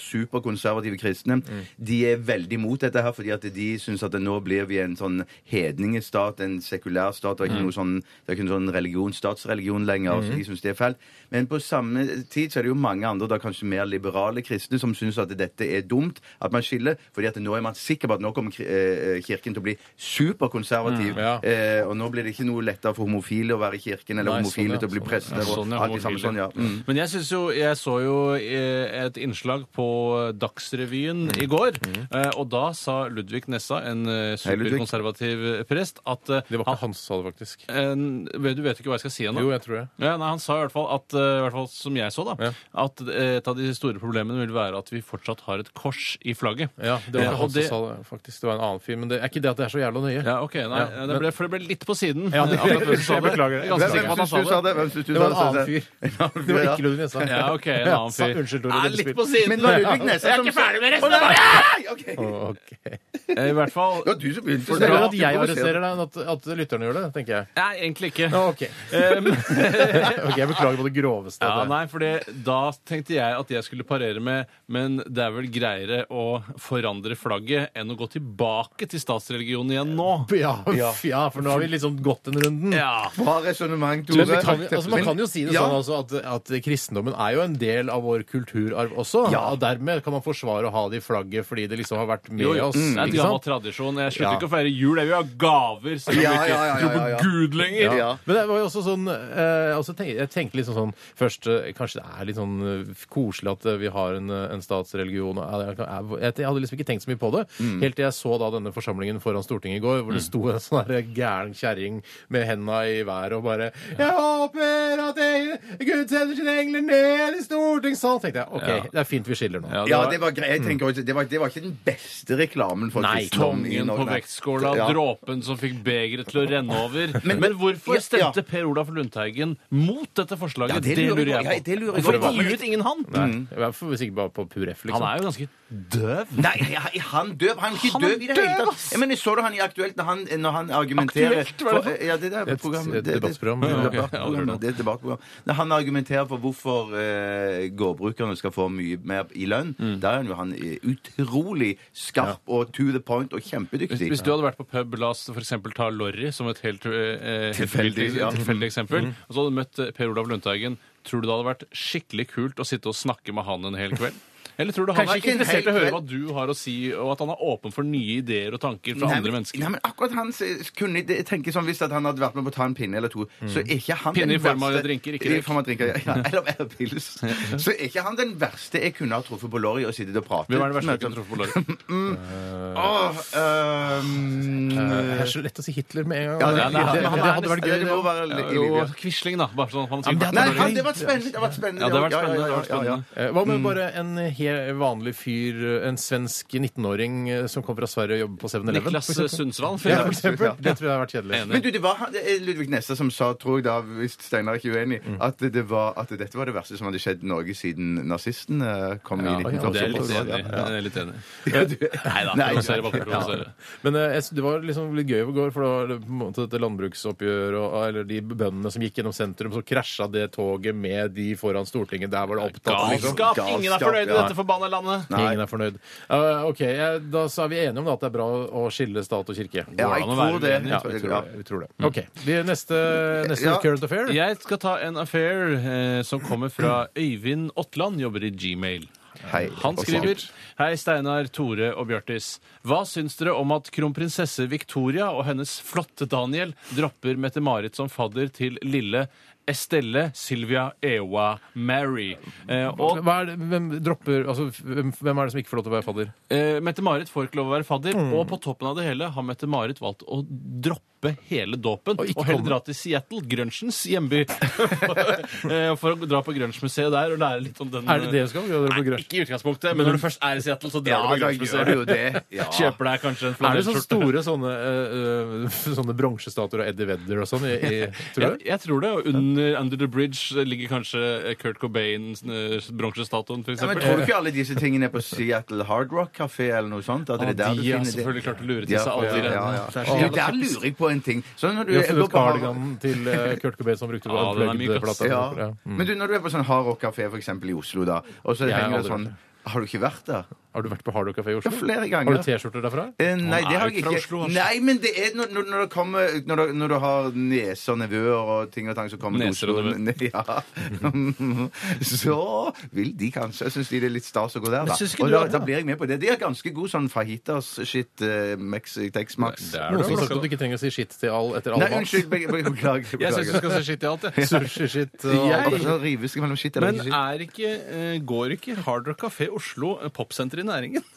ultra-superkonservative kristne. Mm. De er veldig mot dette her, fordi at de syns at nå blir vi en sånn hedningestat, en sekulær stat, og Mm. ikke noe sånn, det er ikke noe sånn religion, statsreligion lenger. Så de syns det er fælt. Men på samme tid så er det jo mange andre, da kanskje mer liberale kristne, som syns at dette er dumt, at man skiller, fordi at nå er man sikker på at nå kommer kri- eh, kirken til å bli superkonservativ. Mm, ja. Eh, og nå blir det ikke noe lettere for homofile å være i kirken, eller Nei, sånn, homofile ja. til å bli Sånn, prester. ja, sånn, og ja, alt det samme homofile. sånn, ja. Mm. Men jeg, synes jo, jeg så jo eh, et innslag på Dagsrevyen i går, Mm. eh, og da sa Ludvig Nessa, en eh, Hei, Ludvig. superkonservativ prest, at eh, Det var ikke han som sa det, faktisk. en, Du vet jo ikke hva jeg skal si ennå. Jo, jeg tror det. Ja, nei, Han sa i hvert fall, at, eh, i hvert fall som jeg så, da, Ja. at eh, et av de store problemene vil være at vi fortsatt har et kors i flagget. Ja, det var Eh, ikke han og det- som sa det, faktisk. Det var en annen fyr. Men det er ikke det at det er så jævla nøye. Ja, ok, nei, Ja, det men- ble, For det ble litt på siden. Ja, det- eh, akkurat hvem som sa jeg beklager det. Jeg er ganske Hvem- sikker på hvem at han sa det. det? Hvem syns du Altså, Det var en sa annen det? fyr. En annen Det var fyr, ikke Ludvig Nessa. Ja, ok, en Ja, annen sa- fyr. Unnskyld, Tore. Nei, Lillespill. litt på ja. siden. Men det var Ludvig Nessa Jeg er som ikke sa- ferdig med resten Å, nei! Ok. Å, ok. Eh, I hvert fall Det var du som begynte. Det er Snella. bedre at jeg Du provoserer. arresterer deg, enn at, at lytterne gjør det, tenker jeg. Nei, egentlig ikke. Å, ok. Eh, men- ok, jeg beklager på det groveste. ja, Det- nei, for da tenkte jeg at jeg skulle parere med Men det er vel greiere å forandre flagget enn å gå tilbake til statsreligionen igjen nå. Ja, f- ja, for nå har vi liksom gått den runden. Ja. Bra resonnement, Tore. Men vi kan, jo- altså man kan jo si det Ja. sånn altså at, at kristendommen er jo en del av vår kulturarv også. Ja. Og dermed kan man forsvare å ha det i flagget fordi det liksom har vært med Jo, Mm, Mm. jo. oss. Det er en ikke sant? gammel tradisjon. Jeg slutter Ja. ikke å feire jul. Jeg vil ha gaver, selv om Ja, jeg ja, ja, ikke tror ja, ja. på Gud lenger. Ja. Men det var jo også sånn eh, altså tenk, Jeg tenkte liksom sånn Først eh, kanskje det er litt sånn eh, koselig at eh, vi har en, eh, en statsreligion. og, ja, det er- er hvor- Jeg hadde liksom ikke tenkt så mye på det. Mm. Helt til jeg så da denne forsamlingen foran Stortinget i går, hvor det sto en sånn her gæren kjerring med henda i været og bare 'Jeg håper at jeg, Gud sender sine engler ned i stortingssalen', tenkte jeg. OK, Ja. det er fint vi skiller nå. Ja, det Ja, var- det var greit. Jeg tenker også, det, var, det var ikke den beste reklamen for Nei, kristendommen i Tongen Norge, på nei. vektskåla, Ja. dråpen som fikk begeret til å renne over. Men- Men, Ja, hvorfor ja. stemte Per Olaf Lundteigen mot dette forslaget? Ja, det det, lurer lurer jeg på. jeg Ja, på. det lurer jeg Hvorfor på. intervjuet ingen han? Nei, jeg var for- sikkert bare på pur F, liksom. Han er jo ganske døv. Nei, he- han døv. Han er ikke Han er døv i det hele døv, tatt. ass! Jeg mener, så du han i Aktuelt når han, når han argumenterer Aktuelt, hva er det for- for- Ja, det der Et- programmet- et det- det- debattprogram. det- Ja, ok. debattprogram, Ja, det er det. Det er et debattprogram. Når han argumenterer for hvorfor eh, gårdbrukerne skal få mye mer i lønn, Mm. da er han jo han eh, utrolig skarp og to the point og Hvis, kjempedyktig. hvis du hadde vært på pub, la oss for eksempel ta Lorry som et helt eh, eh, Tilfeldig, ja. Mm. tilfeldig eksempel, og så hadde du møtt eh, Per Olav Lundteigen, tror du det hadde vært skikkelig kult å sitte og snakke med han en hel kveld? Eller tror du han Kanskje er ikke en interessert i å hel høre hva kveld. du har å si, og at han er åpen for nye ideer og tanker fra Nei, andre men- mennesker? Nei, men akkurat han eh, kunne jeg tenke sånn Hvis at han hadde vært med på å ta en pinne eller to, så er ikke han Mm. Pinne den i form av verste- drinker, ikke I røyk. form av drinker, ja, ja, eller, eller pils. Så er ikke han den verste jeg kunne ha truffet på lorry og sittet og pratet Hvem er det verste med. sånn, du kunne truffet på Lorry? Åh, øhm, Eh, Det er så lett å si Hitler med en gang. Ja, det- det, nei, han- han er hadde vært nesten- gøy. det må være litt- Jo, Quisling, da. Bare sånn at man Ja, men sier det Nei, hadde han, det var spennende. Det var spennende. Ja, det hadde vært spennende, ja, ja, det hadde vært ja, ja. Eh, Hva med bare en he- vanlig fyr, en svensk 19-åring eh, som kommer fra Sverige og jobber på 7-Eleven? Niklas eh, for eksempel? Sundsvall. for Ja, for eksempel. eksempel. Det tror jeg hadde vært kjedelig. Enig. Men du, det var han- det er Ludvig Nessa som sa, tror jeg da, hvis Steinar ikke er uenig, Mm. at, det var, at dette var det verste som hadde skjedd Norge siden nazistene kom i Ja, det er jeg 1948. litt enig i. Ja, Jeg er litt enig. Ja, du- Nei da, Nei, provoserer bare for å ja. provosere. Men eh, jeg sy- det var liksom litt gøy i går, for det var det på en måte dette landbruksoppgjøret og ah, eller de bøndene som gikk gjennom sentrum, så krasja det toget med de foran Stortinget. Der var det opptatt. liksom. Galskap! Ingen er fornøyd i ja. dette forbanna landet! Nei. Ingen er fornøyd. Eh, OK, jeg, da så er vi enige om da, at det er bra å skille stat og kirke. Ja, Går jeg an å tror være det. uenig? Ja, vi tror det. Vi tror det. OK. Vi er neste neste Ja. current affair. Jeg skal ta en affair eh, som kommer fra Øyvind Ottland, jobber i Gmail. Hei. Han skriver Hei, Steinar, Tore og Bjørtis. Hva syns dere om at kronprinsesse Victoria og hennes flotte Daniel dropper Mette-Marit som fadder til lille Estelle Sylvia Ewa Mary? Eh, og Hva er det, hvem, dropper, altså, hvem, hvem er det som ikke får lov til å være fadder? Eh, Mette-Marit får ikke lov å være fadder, Mm. og på toppen av det hele har Mette-Marit valgt å droppe hele dåpen Og og, ikke heller komme. dra til Seattle, grunchens hjemby, Eh, for å dra på grunchmuseet der og lære litt om den eh, Er det det du skal gjøre? Dere på Nei, grunge? ikke i utgangspunktet, men når du først er i Seattle, så Ja, drar du på da gjør grunchmuseet. du jo det. Ja. Kjøper deg kanskje en Er det sånne flanellskjorte. store sånne, eh, eh, sånne bronsestatuer av Eddie Vedder og sånn? i- i- Tror Jeg, du? jeg tror det. og Under Under the Bridge ligger kanskje eh, Kurt Cobains eh, bronsestatuen, for Ja, men eksempel. tror du ikke alle disse tingene er på Seattle Hard Rock Café eller noe sånt? At det er de der du har finner selvfølgelig klart å lure til Ja, seg alle de ja, ja, ja. reddene. Ja, Der lurer jeg på en ting. Sånn når du, Vi har går funnet på hard- cardiganen til eh, Kurt Cobain som brukte på Ja, den er myk, ass. Unplugged-plata. Ja. Ja. Mm. Men du, når du er på sånn Hard Rock Café for eksempel i Oslo, da, og så Jeg har henger aldri det sånn vært Har du ikke vært der? Har du vært på Hard Rock Café i Oslo? Ja, flere ganger. Har du T-skjorter derfra? Eh, nei, Han det er har jo jeg fra ikke. Oslo, altså. Nei, men det er når, når, når det kommer når, det, når du har nese og nevøer og ting og tang som kommer til Neser Oslo og ja. Så vil de kanskje Jeg syns de det er litt stas å gå der, da. syns ikke Og du da, at- da blir jeg med på det. De er ganske god sånn fajitas-shit, eh, Mexi- Tex-Max. Der, Noen som har da. sagt at du ikke trenger å si shit til all etter all Nei, mat. unnskyld. be- be- Beklager. Jeg syns du beklager. skal se skitt i alt, jeg. Sushi-shit og Jeg- Og så rives det mellom shit eller Men ikke shit. er ikke, eh, går ikke Hard Rock Café Oslo eh, popsenter i næringen?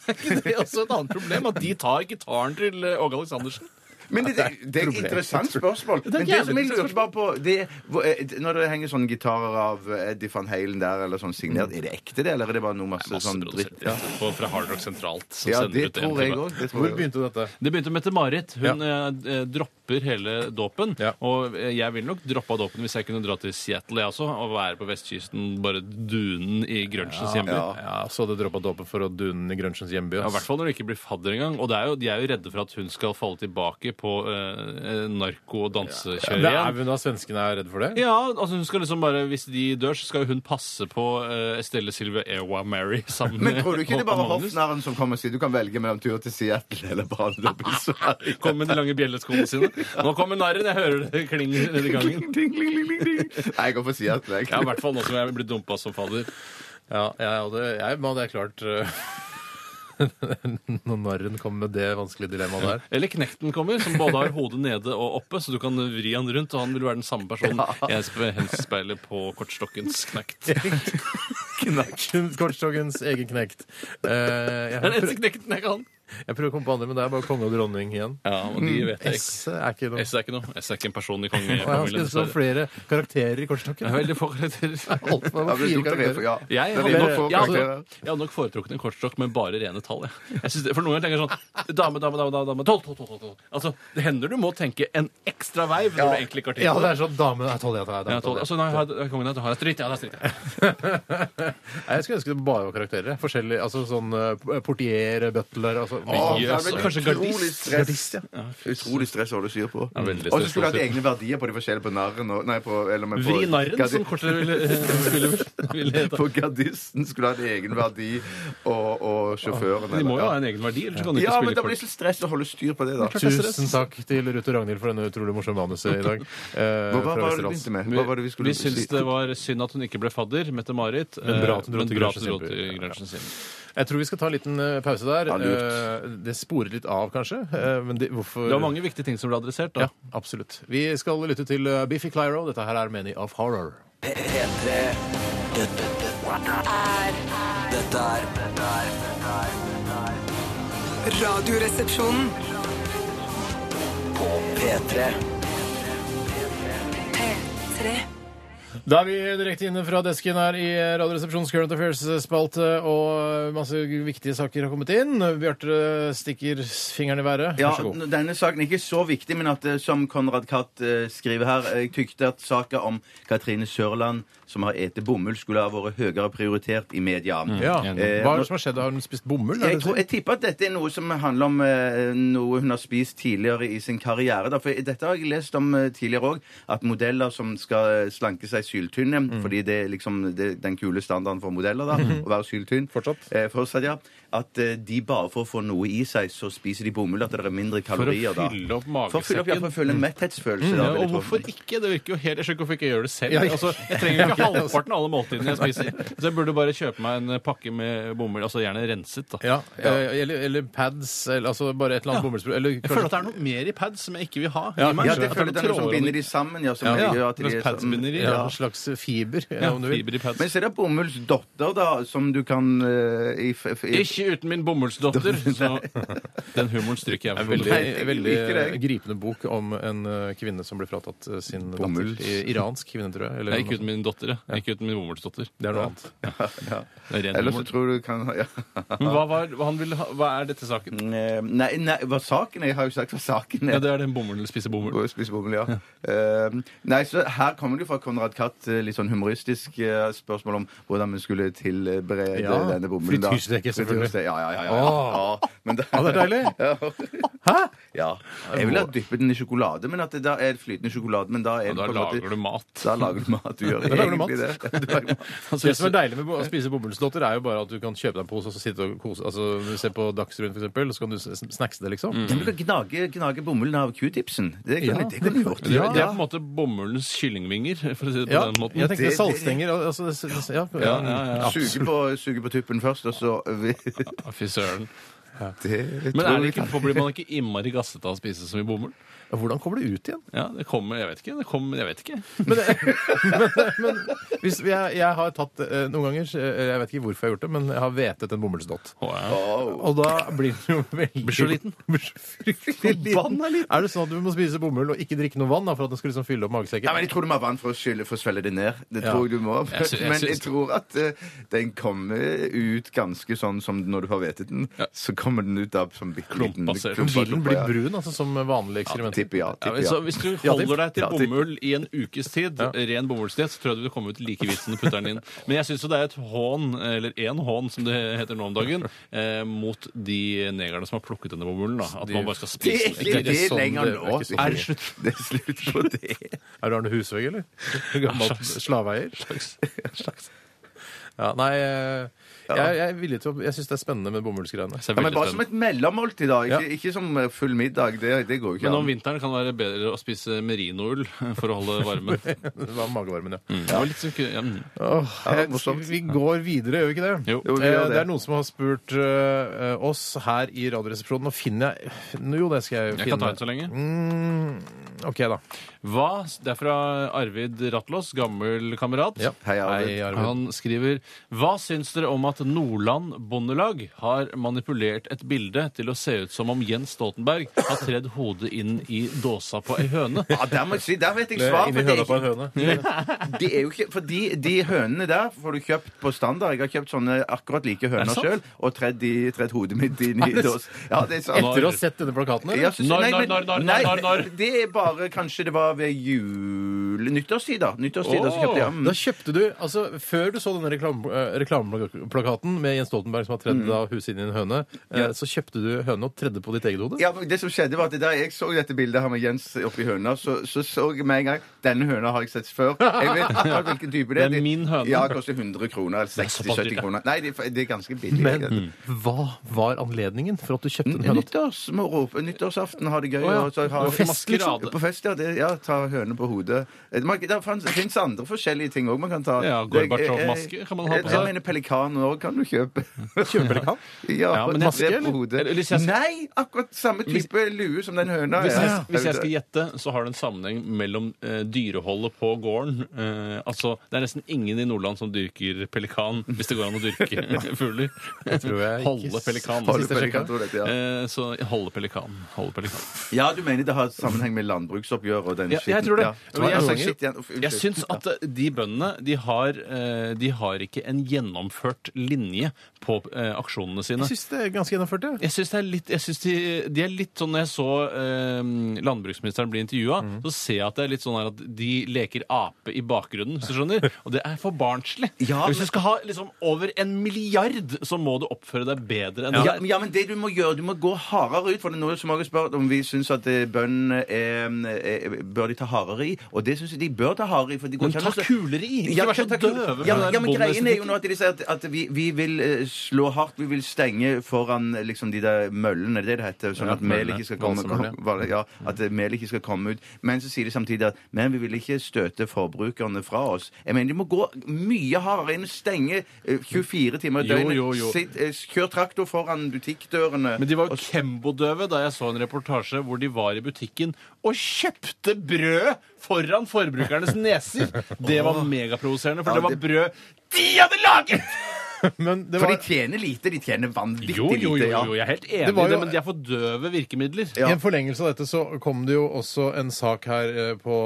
Er ikke det også et annet problem? At de tar gitaren til eh, Åge Aleksandersen? Men det, det er et interessant spørsmål. Men det jævlig som jeg lurer interessant bare på det, er hvor- eh, Når det henger sånne gitarer av eh, Eddie van Halen der, eller sånn signert, er det ekte det, eller er det bare noe masse sånn dritt? Masseprodusert på- fra Hard Rock sentralt. som Ja, sender det ut en tror til jeg hver. òg. Hvor begynte dette? Det begynte med Mette-Marit. Hun eh, eh, dropper hele dåpen. Ja. Og eh, jeg ville nok droppa dåpen hvis jeg kunne dra til Seattle jeg også, og være på vestkysten, bare dunen i grunchens hjemby. ja. Ja, Så hadde droppa dåpen for å dune den i grunchens hjemby. Ja, I ass. hvert fall når det ikke blir fadder engang. Og det er jo, de er jo redde for at hun skal falle tilbake på eh, narko- og dansekjøret Det er igjen. vel da svenskene er redde for det? Ja, altså hun skal liksom bare, Hvis de dør, så skal jo hun passe på eh, Estelle Silve Ewa Mary sammen Men tror du ikke det er bare Håkon Magnus. hoffnarren som kommer og sier du kan velge mellom tur til Seattle eller Branndrup i Sverige? Kom med de lange bjelleskoene sine. Nå kommer narren! Jeg hører det klinger nedi gangen. Ding, ding, ding, ding, ding. Nei, jeg går for Seattle, jeg. Ja, I hvert fall nå som jeg blir dumpa som fadder. Ja, jeg hadde, jeg, man hadde klart øh, Når narren kom med det vanskelige dilemmaet der. Eller Knekten kommer, som både har hodet nede og oppe, så du kan vri han rundt, og han vil være den samme personen jeg henspeiler på kortstokkens knekt. Knekk. Kun kortstokkens egen knekt. Eh, jeg, Det er den eneste prøver, knekten jeg kan. jeg prøver å komme på andre, men det er bare konge og dronning igjen. Ja, og Mm. de vet jeg ikke. S er ikke noe. S er ikke noe. S er ikke en person i Og jeg ønsker kongefamilien. det står flere dessverre. karakterer i Det kortstokken. er veldig få karakterer. Alt for Ja, bare det fire tok det karakterer. for, ja. Jeg Det er hadde, veldig nok, få jeg, hadde, karakterer. jeg hadde nok foretrukket en kortstokk med bare rene tall. Jeg. Jeg synes det, for noen ganger tenker jeg sånn Dame, dame, dame, dame, dame, tolv, tolv, tolv, tolv. Altså, det hender du må tenke en ekstra vei når du egentlig ikke har tid Ja, på det det. er sånn dame er tolv, ja. det er Ja, dame, tolv. tolv, ja. Altså, nå har jeg- kongen at du har jeg stritt, ja, det er stritt. ja. Nei, Jeg skulle ønske det bare var karakterer. jeg. Forskjellig, altså sånn eh, portier, butler altså, Å, mye. det er vel Kanskje utrolig gardist? stress. Utrolig stress å holde styr på. veldig Og så skulle du stress. hatt egne verdier på de forskjellige på narren og Nei, på eller, men på, Vri narren, gardi- som kortere ville, ville, ville hete. På gardisten skulle du hatt egen verdi, og, og sjåføren De eller- må jo ha en egen verdi, ellers så kan du ikke Ja, men spille da blir det kort. så stress å holde styr på det, da. Tusen takk til Ruth og Ragnhild for denne utrolig morsomme manuset i dag. eh, Hva, hva fra var det Westerdals. du begynte med? Hva var det vi skulle altså. Vi syns det var synd at hun ikke ble fadder, Mette-Marit. Men bra at hun dro eh, til bra at Grensen hun dro Simby. til Grensen Simby. Jeg tror vi skal ta en liten eh, pause der. Ja, Eh, det sporer litt av, kanskje. eh, men det, hvorfor Det var mange viktige ting som ble adressert, da. Ja, absolutt. Vi skal lytte til eh, Biffy Clyro. Dette her er Many of Horror. P- P3 Dette, dette, dette er Dette er Radioresepsjonen. På P3 P3. Da er vi direkte inne fra desken her i eh, Radioresepsjonens Current Affairs-spalte, og eh, masse viktige saker har kommet inn. Bjarte stikker fingeren i været. Ja, Vær så god. n- denne saken er ikke så viktig, men at eh, som Konrad Katt eh, skriver her Jeg tykte at saka om Katrine Sørland som har ete bomull, skulle ha vært høyere prioritert i media. Mm. Ja. Eh, Hva er det som har skjedd? Har hun spist bomull? er Jeg, det tror, jeg tipper at dette er noe som handler om eh, noe hun har spist tidligere i sin karriere. Da. For dette har jeg lest om eh, tidligere òg, at modeller som skal eh, slanke seg syltynne, Mm. fordi det er liksom det, er den kule standarden for modeller, da, Mhm. å være syltynn Fortsatt? Eh, fortsatt, ja. At eh, de bare for å få noe i seg, så spiser de bomull, at det er mindre kalorier da. fylle opp For å fylle opp, ja, for å føle en metthetsfølelse. da, Ja, vil jeg og tro. hvorfor ikke? Det virker jo helt Jeg skjønner ikke hvorfor ikke jeg gjør det selv. Ja, ja. Altså, jeg trenger jo Ja, ikke ja, altså. halvparten av alle måltidene jeg spiser. Så jeg burde bare kjøpe meg en eh, pakke med bomull, altså gjerne renset, da. Ja, eh, Eller, eller pads, eller altså bare et eller annet bomullsbrød. Eller Jeg føler at det er noe mer i pads som jeg ikke vil ha. Ja, Gi meg Ja, det en slags- føler jeg det er noe som tråder binder og- de sammen. Ja, som Ja, gjør at de mens er pads sånn- binder de, ja, ja. en slags fiber, eh, Ja, om du vil. fiber i pads. Men så er det bomullsdotter, da, som du kan eh, i, f- i, Ikke uten min bomullsdotter! Så den humoren stryker jeg. En for. veldig, Nei, jeg veldig liker det. gripende bok om en eh, kvinne som ble fratatt eh, sin Bomulls. datter. I- Iransk kvinne, tror jeg. Eller Nei, ikke noe uten min dotter, ja. Ikke uten min bomullsdotter. sånt. Det er noe annet. Det er ren Ellers så humor. tror du kan ja. Men hva, var, hva, han ville ha, hva er dette Mm. saken? eh, Nei, nei, hva saken er? Jeg har jo sagt hva saken Ja, er. det er den bomullen spise bomull. Å spise bomull, ja. Eh, nei, så Her kommer det jo fra Konrad Katt eh, litt sånn humoristisk eh, spørsmål om hvordan vi skulle tilberede Ja, denne bomullen. da. frityrsteke, selvfølgelig. Frityrsteke, Ja, ja, ja. ja, ja. Åh. ja men da- Ja, det er deilig. Hæ? Ja. Jeg ville ha dyppet den i sjokolade, men at det da er flytende sjokolade. Men da er Og det da Mm. på en måte- lager du mat. Da lager du mat. Du gjør Da lager du mat. egentlig det. Du lager mat. Altså, Det som er deilig med bo- å spise bomullsdotter, er jo bare at du kan kjøpe deg en pose og så sitte og kose Altså, du ser på Dagsrevyen, for eksempel, og så kan du s- snackse det, Mm. liksom. Du kan gnage, gnage bomullen av q-tipsen. Det kunne det kunne du gjort. Det er, det er på en måte bomullens kyllingvinger, for å si det på Ja, den måten. jeg tenkte Det- saltstenger. al- Altså, det, det, ja, Ja, ja, ja. Suge på, suge på tuppen først, og så Å, Fy søren. Det tror Men er det jeg ikke, kan- blir man ikke innmari gassete av å spise så mye bomull? Ja, Hvordan kommer det ut igjen? Ja, det kommer, jeg vet ikke. Det kommer, jeg vet ikke. Men, men, men hvis jeg, jeg har tatt eh, noen ganger eh, Jeg vet ikke hvorfor jeg har gjort det, men jeg har hvetet en bomullsdott. Å, ja. Og da blir den jo veldig Blir så liten. Blir så fryktelig liten. Forbanna liten. Er det sånn at du må spise bomull og ikke drikke noe vann da, for at den skal liksom fylle opp magesekken? Nei, men Jeg tror du må ha vann for å, skylle, for å svelle det ned. Det Ja. tror jeg du må. Jeg sy- jeg men jeg syns- tror at eh, den kommer ut ganske sånn som når du har hvetet den. Så kommer den ut av som bitte liten Klumpa ser- Vil den bli ja. brun, altså, som vanlige Ja, eksperimenter? Tipper ja. Ja, Tipper, men så ja. hvis du Ja, holder deg til ja, tipper. bomull i en ukes tid, ren bomullsdiett, så tror jeg du vil komme ut like hvit som du putter den inn. Men jeg syns jo det er et hån, eller én hån som det heter nå om dagen, eh, mot de negerne som har plukket denne bomullen. da. At man bare skal Det er ikke spise den. Det er det sånn lenger det- nå. det er ikke sånn Er det- det slutt? Det er slutt på det. Er du Arne Husvegg, eller? Gammel slaveeier? Ja, nei eh, Jeg, jeg er villig til å Jeg syns det er spennende med bomullsgreiene. Så det er Ja, men veldig bare som spennende. et mellommåltid, da. Ikke, Ja. ikke som eh, full middag. Det, det går jo ikke Men om vinteren kan det være bedre å spise merinoull for å holde varmen. Det var magevarmen, ja. Det var litt som, ku- ja, mm. Åh, Ja, jeg- morsomt. vi går videre, gjør vi ikke det? Jo. Jo, vi Eh, gjør det er noen som har spurt eh, oss her i Radioresepsjonen. Nå finner jeg Jo, det skal jeg finne. Jeg kan ta en så lenge. Mm, OK, da. Hva? Det er fra Arvid Ratlås, gammel kamerat. Ja. Hei, Arvid. Hei, Arvid. Han skriver Hva syns dere om at Nordland Bondelag har manipulert et bilde til å se ut som om Jens Stoltenberg har tredd hodet inn i dåsa på ei høne? Ja, der må jeg si, der vet jeg Det er svar. Inni For, det er høna på en høne. ikke, det er jo ikke, for de, de hønene der får du kjøpt på standard. Jeg har kjøpt sånne akkurat like høner sant? sjøl og tredd, i, tredd hodet mitt inn i det- dås. Ja, det er sant. Etter å ha sett denne plakaten, Ja, eller? så- Når, nei, når, men- når, når, nei, når, når? Det er bare kanskje det var ved jul Nyttårstid, da. Nyttårstid, da så kjøpte jeg mm. Da kjøpte du altså Før du så denne reklam, eh, reklameplakaten med Jens Stoltenberg som har Mm. tredd av huset inn i en høne, eh, så kjøpte du høne og tredde på ditt eget hode? Ja, men det som skjedde var at Da jeg så dette bildet her med Jens oppi høna, så så, så jeg med en gang denne høna har jeg sett før. Jeg vet akkurat hvilken type det er. Det er min høne. Ja, det koster 100 kroner. eller såpass dyrt, 60-70 ja. kroner. Nei, det, er- det er ganske billig. Men hva var anledningen for at du kjøpte Mm. den høna? Nyttårsmoro. Nyttårsaften har det gøy. ja. og så har- På fest, liksom? På fest, ja. Det, ja ta høne på hodet. Eh, Det fins andre forskjellige ting òg man kan ta. Eh, Ja, Gorbatsjov-maske kan man ha på seg. Jeg mener pelikan òg kan du kjøpe. Kjøpelikan? Ja, Ja, på- men jeg- maske eller- på hodet. eller hvis jeg- Nei, akkurat samme type lue som den høna. Hvis er. jeg, hvis jeg skal gjette, så har det en sammenheng mellom eh, dyreholdet på gården. Eh, altså, Det er nesten ingen i Nordland som dyrker pelikan, hvis det går an å dyrke fugler. tror jeg ikke Holde pelikan. Holde sist jeg pelikan, sjekket. tror jeg det heter, Eh, så holde pelikan. Holde pelikan. Ja, du mener det har sammenheng med landbruksoppgjør og den Ja, jeg skitten. tror det. Men jeg Jeg sa tror- skitt igjen. Uff, altså unnskyld. Jeg syns at eh, de bøndene de har, eh, de har ikke en gjennomført linje på eh, aksjonene sine. Jeg syns det er ganske gjennomført, det. Jeg syns det er litt jeg synes de, de er litt sånn Når jeg så eh, landbruksministeren bli intervjua, Mhm. så ser jeg at det er litt sånn her at de leker ape i bakgrunnen, hvis du skjønner. Og det er for barnslig. Ja, hvis men- du skal ha liksom over en milliard, så må du oppføre deg bedre enn Ja, det men- der. ja, men det du må gjøre, du må gå hardere ut. For det er noe som mange spør om vi syns at eh, bøndene eh, eh, Bør de ta hardere i? Og det syns jeg de bør ta hardere i. For de går Men ikke an ta å se- kulere i! Ikke Ja, vær så ta kulere. døve. Ja, med men- den ja, men greien er jo bondeestetikken. nå at de sier at, at vi, vi vil eh, slå hardt, vi vil stenge foran eh, liksom de der møllene, det er det det heter, sånn Ja, at mel møllene. Mm. ikke skal komme Valsemøllene. kom- ja, at eh, mel ikke skal komme ut. Men så sier de samtidig at men vi vil ikke støte forbrukerne fra oss. Jeg mener de må gå mye hardere inn, stenge eh, 24 timer i Jo, døgnet. jo, jo. Sitt, eh, kjør traktor foran butikkdørene. Men de var jo kembodøve da jeg så en reportasje hvor de var i butikken og kjøpte brød foran forbrukernes neser. Det var megaprovoserende, for det var brød de hadde laget! Men det For var de tjener lite. De tjener vanvittig Jo, jo, jo, lite. ja. jo, jeg er helt enig Det var i det, jo- men de er for døve virkemidler. I en forlengelse av dette så kom det jo også en sak her eh, på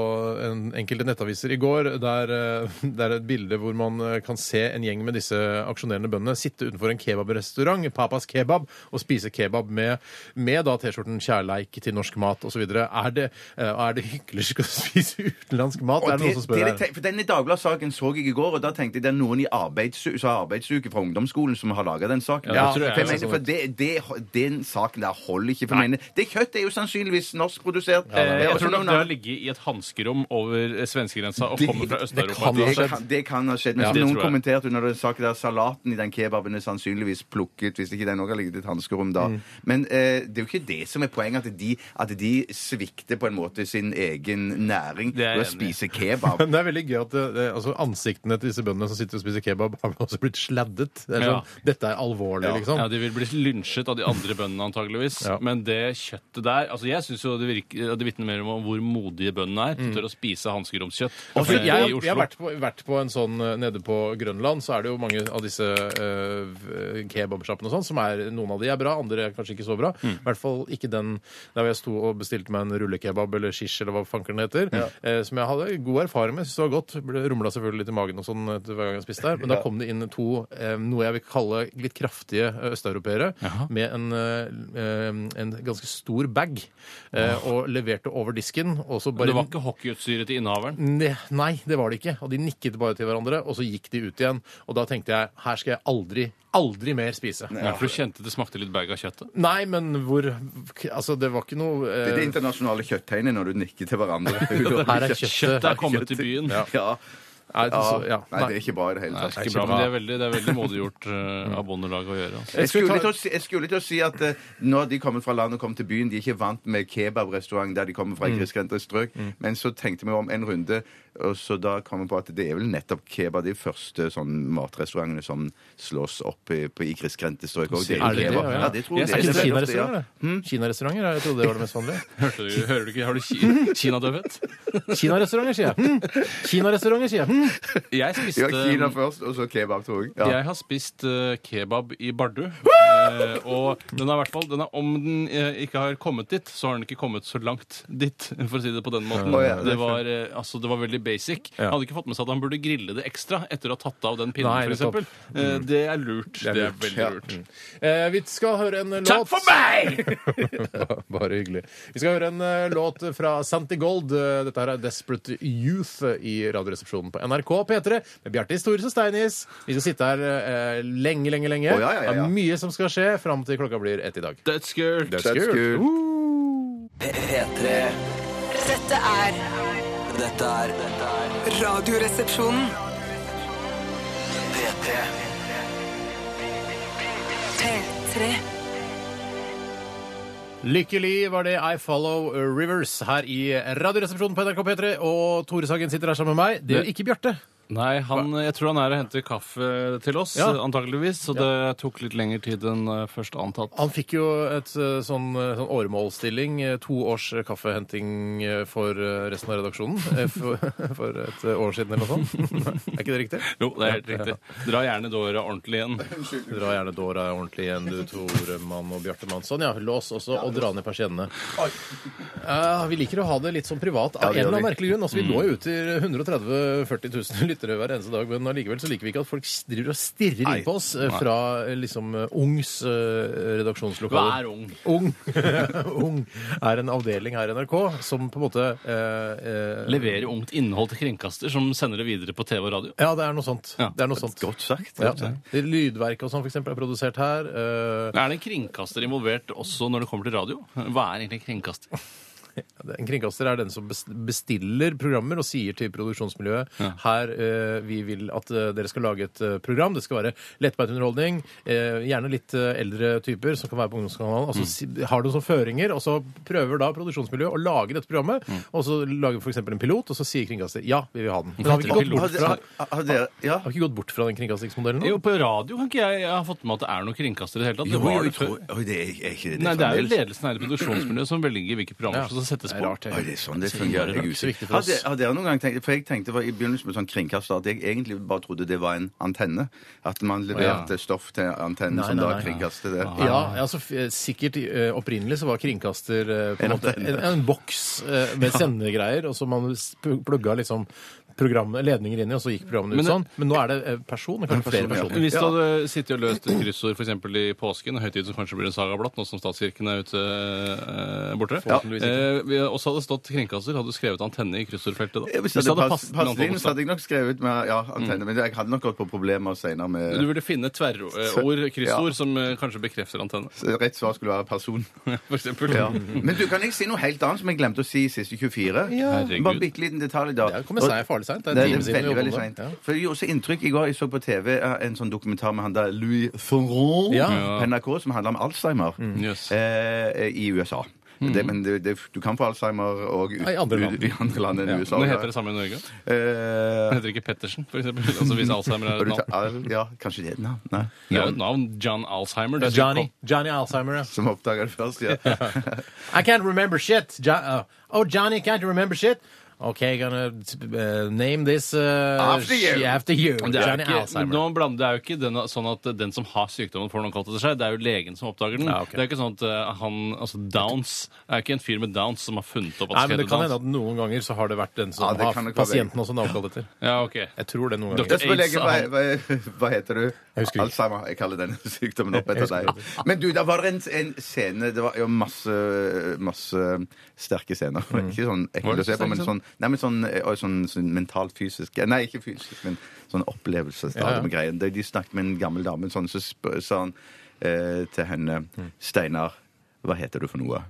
en, enkelte nettaviser i går. Der eh, det er et bilde hvor man eh, kan se en gjeng med disse aksjonerende bøndene sitte utenfor en kebabrestaurant, Papas kebab, og spise kebab med, med da T-skjorten 'Kjærleik til norsk mat' osv. Er, det, eh, er det hyklersk å spise utenlandsk mat? Og er det noen som spør det- her? det- for Denne Dagbladet-saken så jeg i går, og da tenkte jeg det er noen i arbeidsuke, så har arbeidsuke fra ungdomsskolen som har laga den saken. Ja, det tror jeg for jeg også. mener, for det, det, den saken der holder ikke. For jeg mener, det kjøttet er jo sannsynligvis norskprodusert. Eh, Jeg tror nok det har det, ligget i et hanskerom over eh, svenskegrensa og Det- kommer fra det Øst-Europa. kan ha Det- skjedd. kan, det kan ha skjedd. Men Ja, som det noen tror jeg. kommenterte under den saken der, salaten i den kebaben er sannsynligvis plukket, hvis ikke den òg har ligget i et hanskerom da. Mm. Men eh, det er jo ikke det som er poenget, at de, at de svikter på en måte sin egen næring Det er jeg ved å enig i. spise kebab. Men det er veldig gøy at det, det- altså ansiktene til disse bøndene som sitter og spiser kebab, har også blitt sladdet. Det er Ja. sånn, Dette er alvorlig, liksom. Ja, De vil bli lynsjet av de andre bøndene, antageligvis. Ja. Men det kjøttet der altså Jeg syns det, virker- det vitner mer om hvor modige bøndene er. som Tør å spise hanskeromskjøtt Ja, for eh, Mm. jeg, i jeg har Oslo. vært på, vært på en sånn eh, nede på Grønland, så er det jo mange av disse uh, kebabsjappene og sånn, som er Noen av de er bra, andre er kanskje ikke så bra. Mm. I hvert fall ikke den der hvor jeg sto og bestilte meg en rullekebab eller shish eller hva fankeren det heter, eh, som jeg hadde god erfaring med. Syntes det var godt. Ble- Rumla selvfølgelig litt i magen og sånn etter hver gang jeg spiste der. Men da kom det inn to, eh, noe jeg vil kalle litt kraftige eh, østeuropeere, med en, eh, eh, en ganske stor bag, eh, og leverte over disken, og så bare Det var ikke hockeyutstyret til innehaveren. Ne- Nei, det var det ikke. Og de nikket bare til hverandre, og så gikk de ut igjen. Og da tenkte jeg her skal jeg aldri, aldri mer spise. Ja, for du kjente det smakte litt bag av kjøttet? Nei, men hvor Altså, det var ikke noe Det er det eh, internasjonale kjøtttegnet når du nikker til hverandre. Her er kjøttet. Kjøttet er kommet til byen. Ja. Nei, det, så, ja. Nei, det er ikke bra i det hele Nei, tatt. det er ikke bra, men det er veldig, det er veldig modiggjort eh, av Bondelaget å gjøre. Altså. Jeg skulle, til å si, jeg skulle til å si at eh, nå har de kommet fra landet og kommet til byen. De er ikke vant med kebabrestaurant der de kommer fra. i grisgrendte strøk. Men så tenkte vi om en runde, og så da kom vi på at det er vel nettopp kebab de første sånn matrestaurantene som slås opp i, på, i grisgrendte strøk. Og Sier er du det, kebab. ja? Ja, det tror Jeg jeg. snakker Det er ofte, ja. Hm? kinarestauranter, det. Kinarestauranter, jeg trodde det var det mest vanlige. Hørte du, hører du ikke? Har du ki kinadøvhet? Kinarestauranter, sier jeg. Hm. Kinarestauranter, sier jeg. Hm. Jeg Ja, spiste Kina først, og så kebab, tror jeg. Ja. Jeg har spist eh, kebab i Bardu. eh, og den er i hvert fall, den er, om den eh, ikke har kommet dit, så har den ikke kommet så langt dit, for å si det på den måten. Å, ja, det er det, var, eh, altså, det var veldig basic. Ja. Han hadde ikke fått med seg at han burde grille det ekstra etter å ha tatt av den Nei, pinnen, nettopp. f.eks. Uh, det er lurt. Det er, veldig ja. lurt. Eh, vi skal høre en låt Takk for meg! Ba- Bare hyggelig. Vi skal høre en eh, låt fra Santi Gold. Eh, Dette her er Desperate Youth eh, i Radioresepsjonen på NRK P3 med Bjarte Historis og Steinis. Vi skal sitte her eh, lenge, lenge, lenge. Å, ja, ja, ja, ja. Det er mye som skal skje fram til klokka blir ett i dag. Dødskult. That's good. P3 Dette er Dette er dette er Radioresepsjonen. P3 P3. Lykkelig var det I Follow Rivers her i Radioresepsjonen på NRK P3. Og Tore Sagen sitter her sammen med meg. Det gjør ikke Bjarte. Nei, han, jeg tror han er og henter kaffe til oss, Ja. antakeligvis. Så det tok litt lengre tid enn eh, først antatt. Han fikk jo et eh, sånn, eh, sånn åremålsstilling, eh, to års eh, kaffehenting eh, for eh, resten av redaksjonen. eh, For, for et eh, år siden eller noe sånt. Er ikke det riktig? Jo, det er helt riktig. Dra gjerne dåret ordentlig igjen. Dra gjerne dåra ordentlig igjen, du Toremann og Bjartemann. Sånn, ja. Lås også, og dra ned persiennene. Eh, vi liker å ha det litt sånn privat av Ja, en det gjør eller annen vi. Mm. merkelig grunn. Altså, vi når jo ut til 130 000-40 000 lyttere hver eneste dag, men allikevel så liker vi ikke at folk driver og stirrer inn på oss eh, fra eh, liksom eh, Ungs eh, redaksjonslokaler. Vær ung. Ung. Ung er en avdeling her i NRK som på en måte eh, eh, Levere ungt innhold til kringkaster som sender det videre på TV og radio. Ja, det er noe sånt. Ja. Det er noe sånt. Godt sagt. Ja. Det Lydverket og sånn, for eksempel, er produsert her. eh, Er det en kringkaster involvert også når det kommer til radio? Hva er egentlig en kringkaster? En kringkaster er den som bes- bestiller programmer og sier til produksjonsmiljøet her eh, vi vil at eh, dere skal lage et eh, program. Det skal være lettbeint underholdning, eh, gjerne litt eh, eldre typer som kan være på ungdomskanalen. Mm. Og så si, har de som føringer, og så prøver da produksjonsmiljøet å lage dette programmet. Mm. Og så lager f.eks. en pilot, og så sier kringkaster ja, vi vil ha den. Men har vi ikke gått Har bort dere- fra, har- har dere- Ja. har vi ikke gått bort fra den kringkastingsmodellen nå? Jo, på radio kan ikke jeg, jeg ha fått med at det er noen kringkaster i det hele tatt. Det Jo, var jo, det jeg før. tror- Oi, det er er ikke det. Nei, det er jo fremdeles. ledelsen her i produksjonsmiljøet som velger hvilke programmer som skal settes det er på. rart, det. Oi, det er sånn det fungerer. Jeg er Så viktig usikker. for Har oss. dere- har dere noen gang tenkt For jeg tenkte var, i begynnelsen med sånn kringkaster at jeg egentlig bare trodde det var en antenne. At man leverte stoff til antennen Nei, som nei, da nei. kringkastet det. Ja, altså, f- eh, sikkert eh, opprinnelig så var kringkaster eh, på en, måte, en, en boks eh, med sendegreier, og så man s- pl- plugga liksom programmet, ledninger inn i, og så gikk programmene ut Men- sånn. Men nå er det eh, personer, kanskje flere Personer, ja. personer. Hvis du hadde sittet og løst et kryssord for eksempel i påsken, en høytid som kanskje blir en saga blått, nå som statskirken er ute eh, borte Ja. eh, vi- Og så hadde det stått kringkaster, hadde du skrevet antenne i kryssordfeltet da? Hvis det hadde pass- med passet antall inn, så hadde jeg nok skrevet med ja, Mm. antenne. Men jeg hadde nok gått på problemer senere bokstaver. med Du ville finne tverrord, kryssord, som eh, kanskje bekrefter antenne, Rett svar skulle være person. for eksempel. Ja. Men du, kan jeg si noe helt annet som jeg glemte å si i siste 24? Herregud. Bare en bitte liten detalj da. Det kommer seg farlig seint. Det er Nei, en det time siden vi er veldig, jobba veldig med seint. det. Ja. For det gjorde også inntrykk i går. Jeg så på TV eh, en sånn dokumentar med han der Louis Theron Ja. på NRK som handla om Alzheimer Yes. eh, i USA. Det, men det, det, du kan få Alzheimer og ut, Ja, i andre land. ut- i andre land enn Ja. USA. Nå heter det samme i Norge. Det Eh, heter ikke Pettersen, for eksempel. Altså hvis Alzheimer og er du et tar, navn. al- ja, kanskje det er et navn? Nei. Det er jo et navn. John Alzheimer. Det er Johnny, Johnny Alzheimer, ja. Som oppdaga det først, ja. I can't remember shit. Jo uh, oh, Johnny, can't you remember shit? Okay, gonna uh, name this uh, After you. sh- After you. Men Det er, Johnny ikke, Alzheimer. nå blander, det er jo ikke den, sånn at den som har sykdommen, får noe kalt etter seg. Det er jo legen som oppdager den. Ja, ok. Det er ikke sånn at eh, han, altså Downs er ikke en fyr med Downs som har funnet opp at Nei, men det heter kan hende at Downs. noen ganger så har det vært den som Ja, det kan har nok være. pasienten også navnkalt etter. Ja, ok. Jeg tror det noen Dr. ganger. Jeg spør legen, hva, hva, hva heter du? husker ikke. Alzheimer. Jeg kaller denne sykdommen opp Jeg etter husker deg. Men du, da var det en, en scene Det var jo masse, masse sterke scener. Mm. Ikke sånn Var ekkelt det å se på, men sterke sånn, nei, men sånn, eh, og sånn, sånn mentalt fysisk Nei, ikke fysisk, men sånn opplevelse. Ja, ja. med greien. De, de snakket med en gammel dame, sånn, så spør, sa han Mm. eh, til henne Steinar, hva heter du for noe?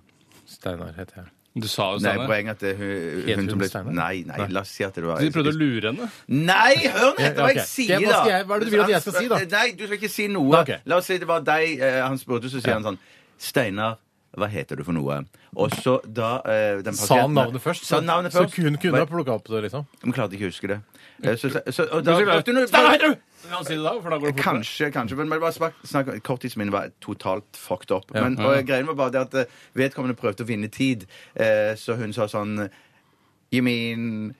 Steinar heter jeg. Du sa jo Nei, Steinar. poenget er at det er hun, Het hun som hun ble Steinar? Nei, nei, la oss si at det var Så de prøvde å lure henne? Nei, hør nå etter hva Ja, ok. jeg sier, Hva da! skal jeg- hva er det du vil at jeg skal si, da? Nei, du skal ikke si noe. Nei, ok. La oss si det var deg eh, han spurte, så sier han sånn Steinar, hva heter du for noe? Og så da eh, den Sa han pasienten- navnet først? Sa han navnet først. Så hun kunne ha Men- plukka opp det, liksom? men klarte ikke å huske det. Eh, Så, så, så, og da, Hørte du noe- Steinar, heter du?! La oss si det da, for da går det fortere. Kanskje, kanskje, men men bare smak, snakk, korttidsminnet var totalt fucked up. Ja. Men, og greien var bare det at eh, vedkommende prøvde å vinne tid, eh, så hun sa sånn You mean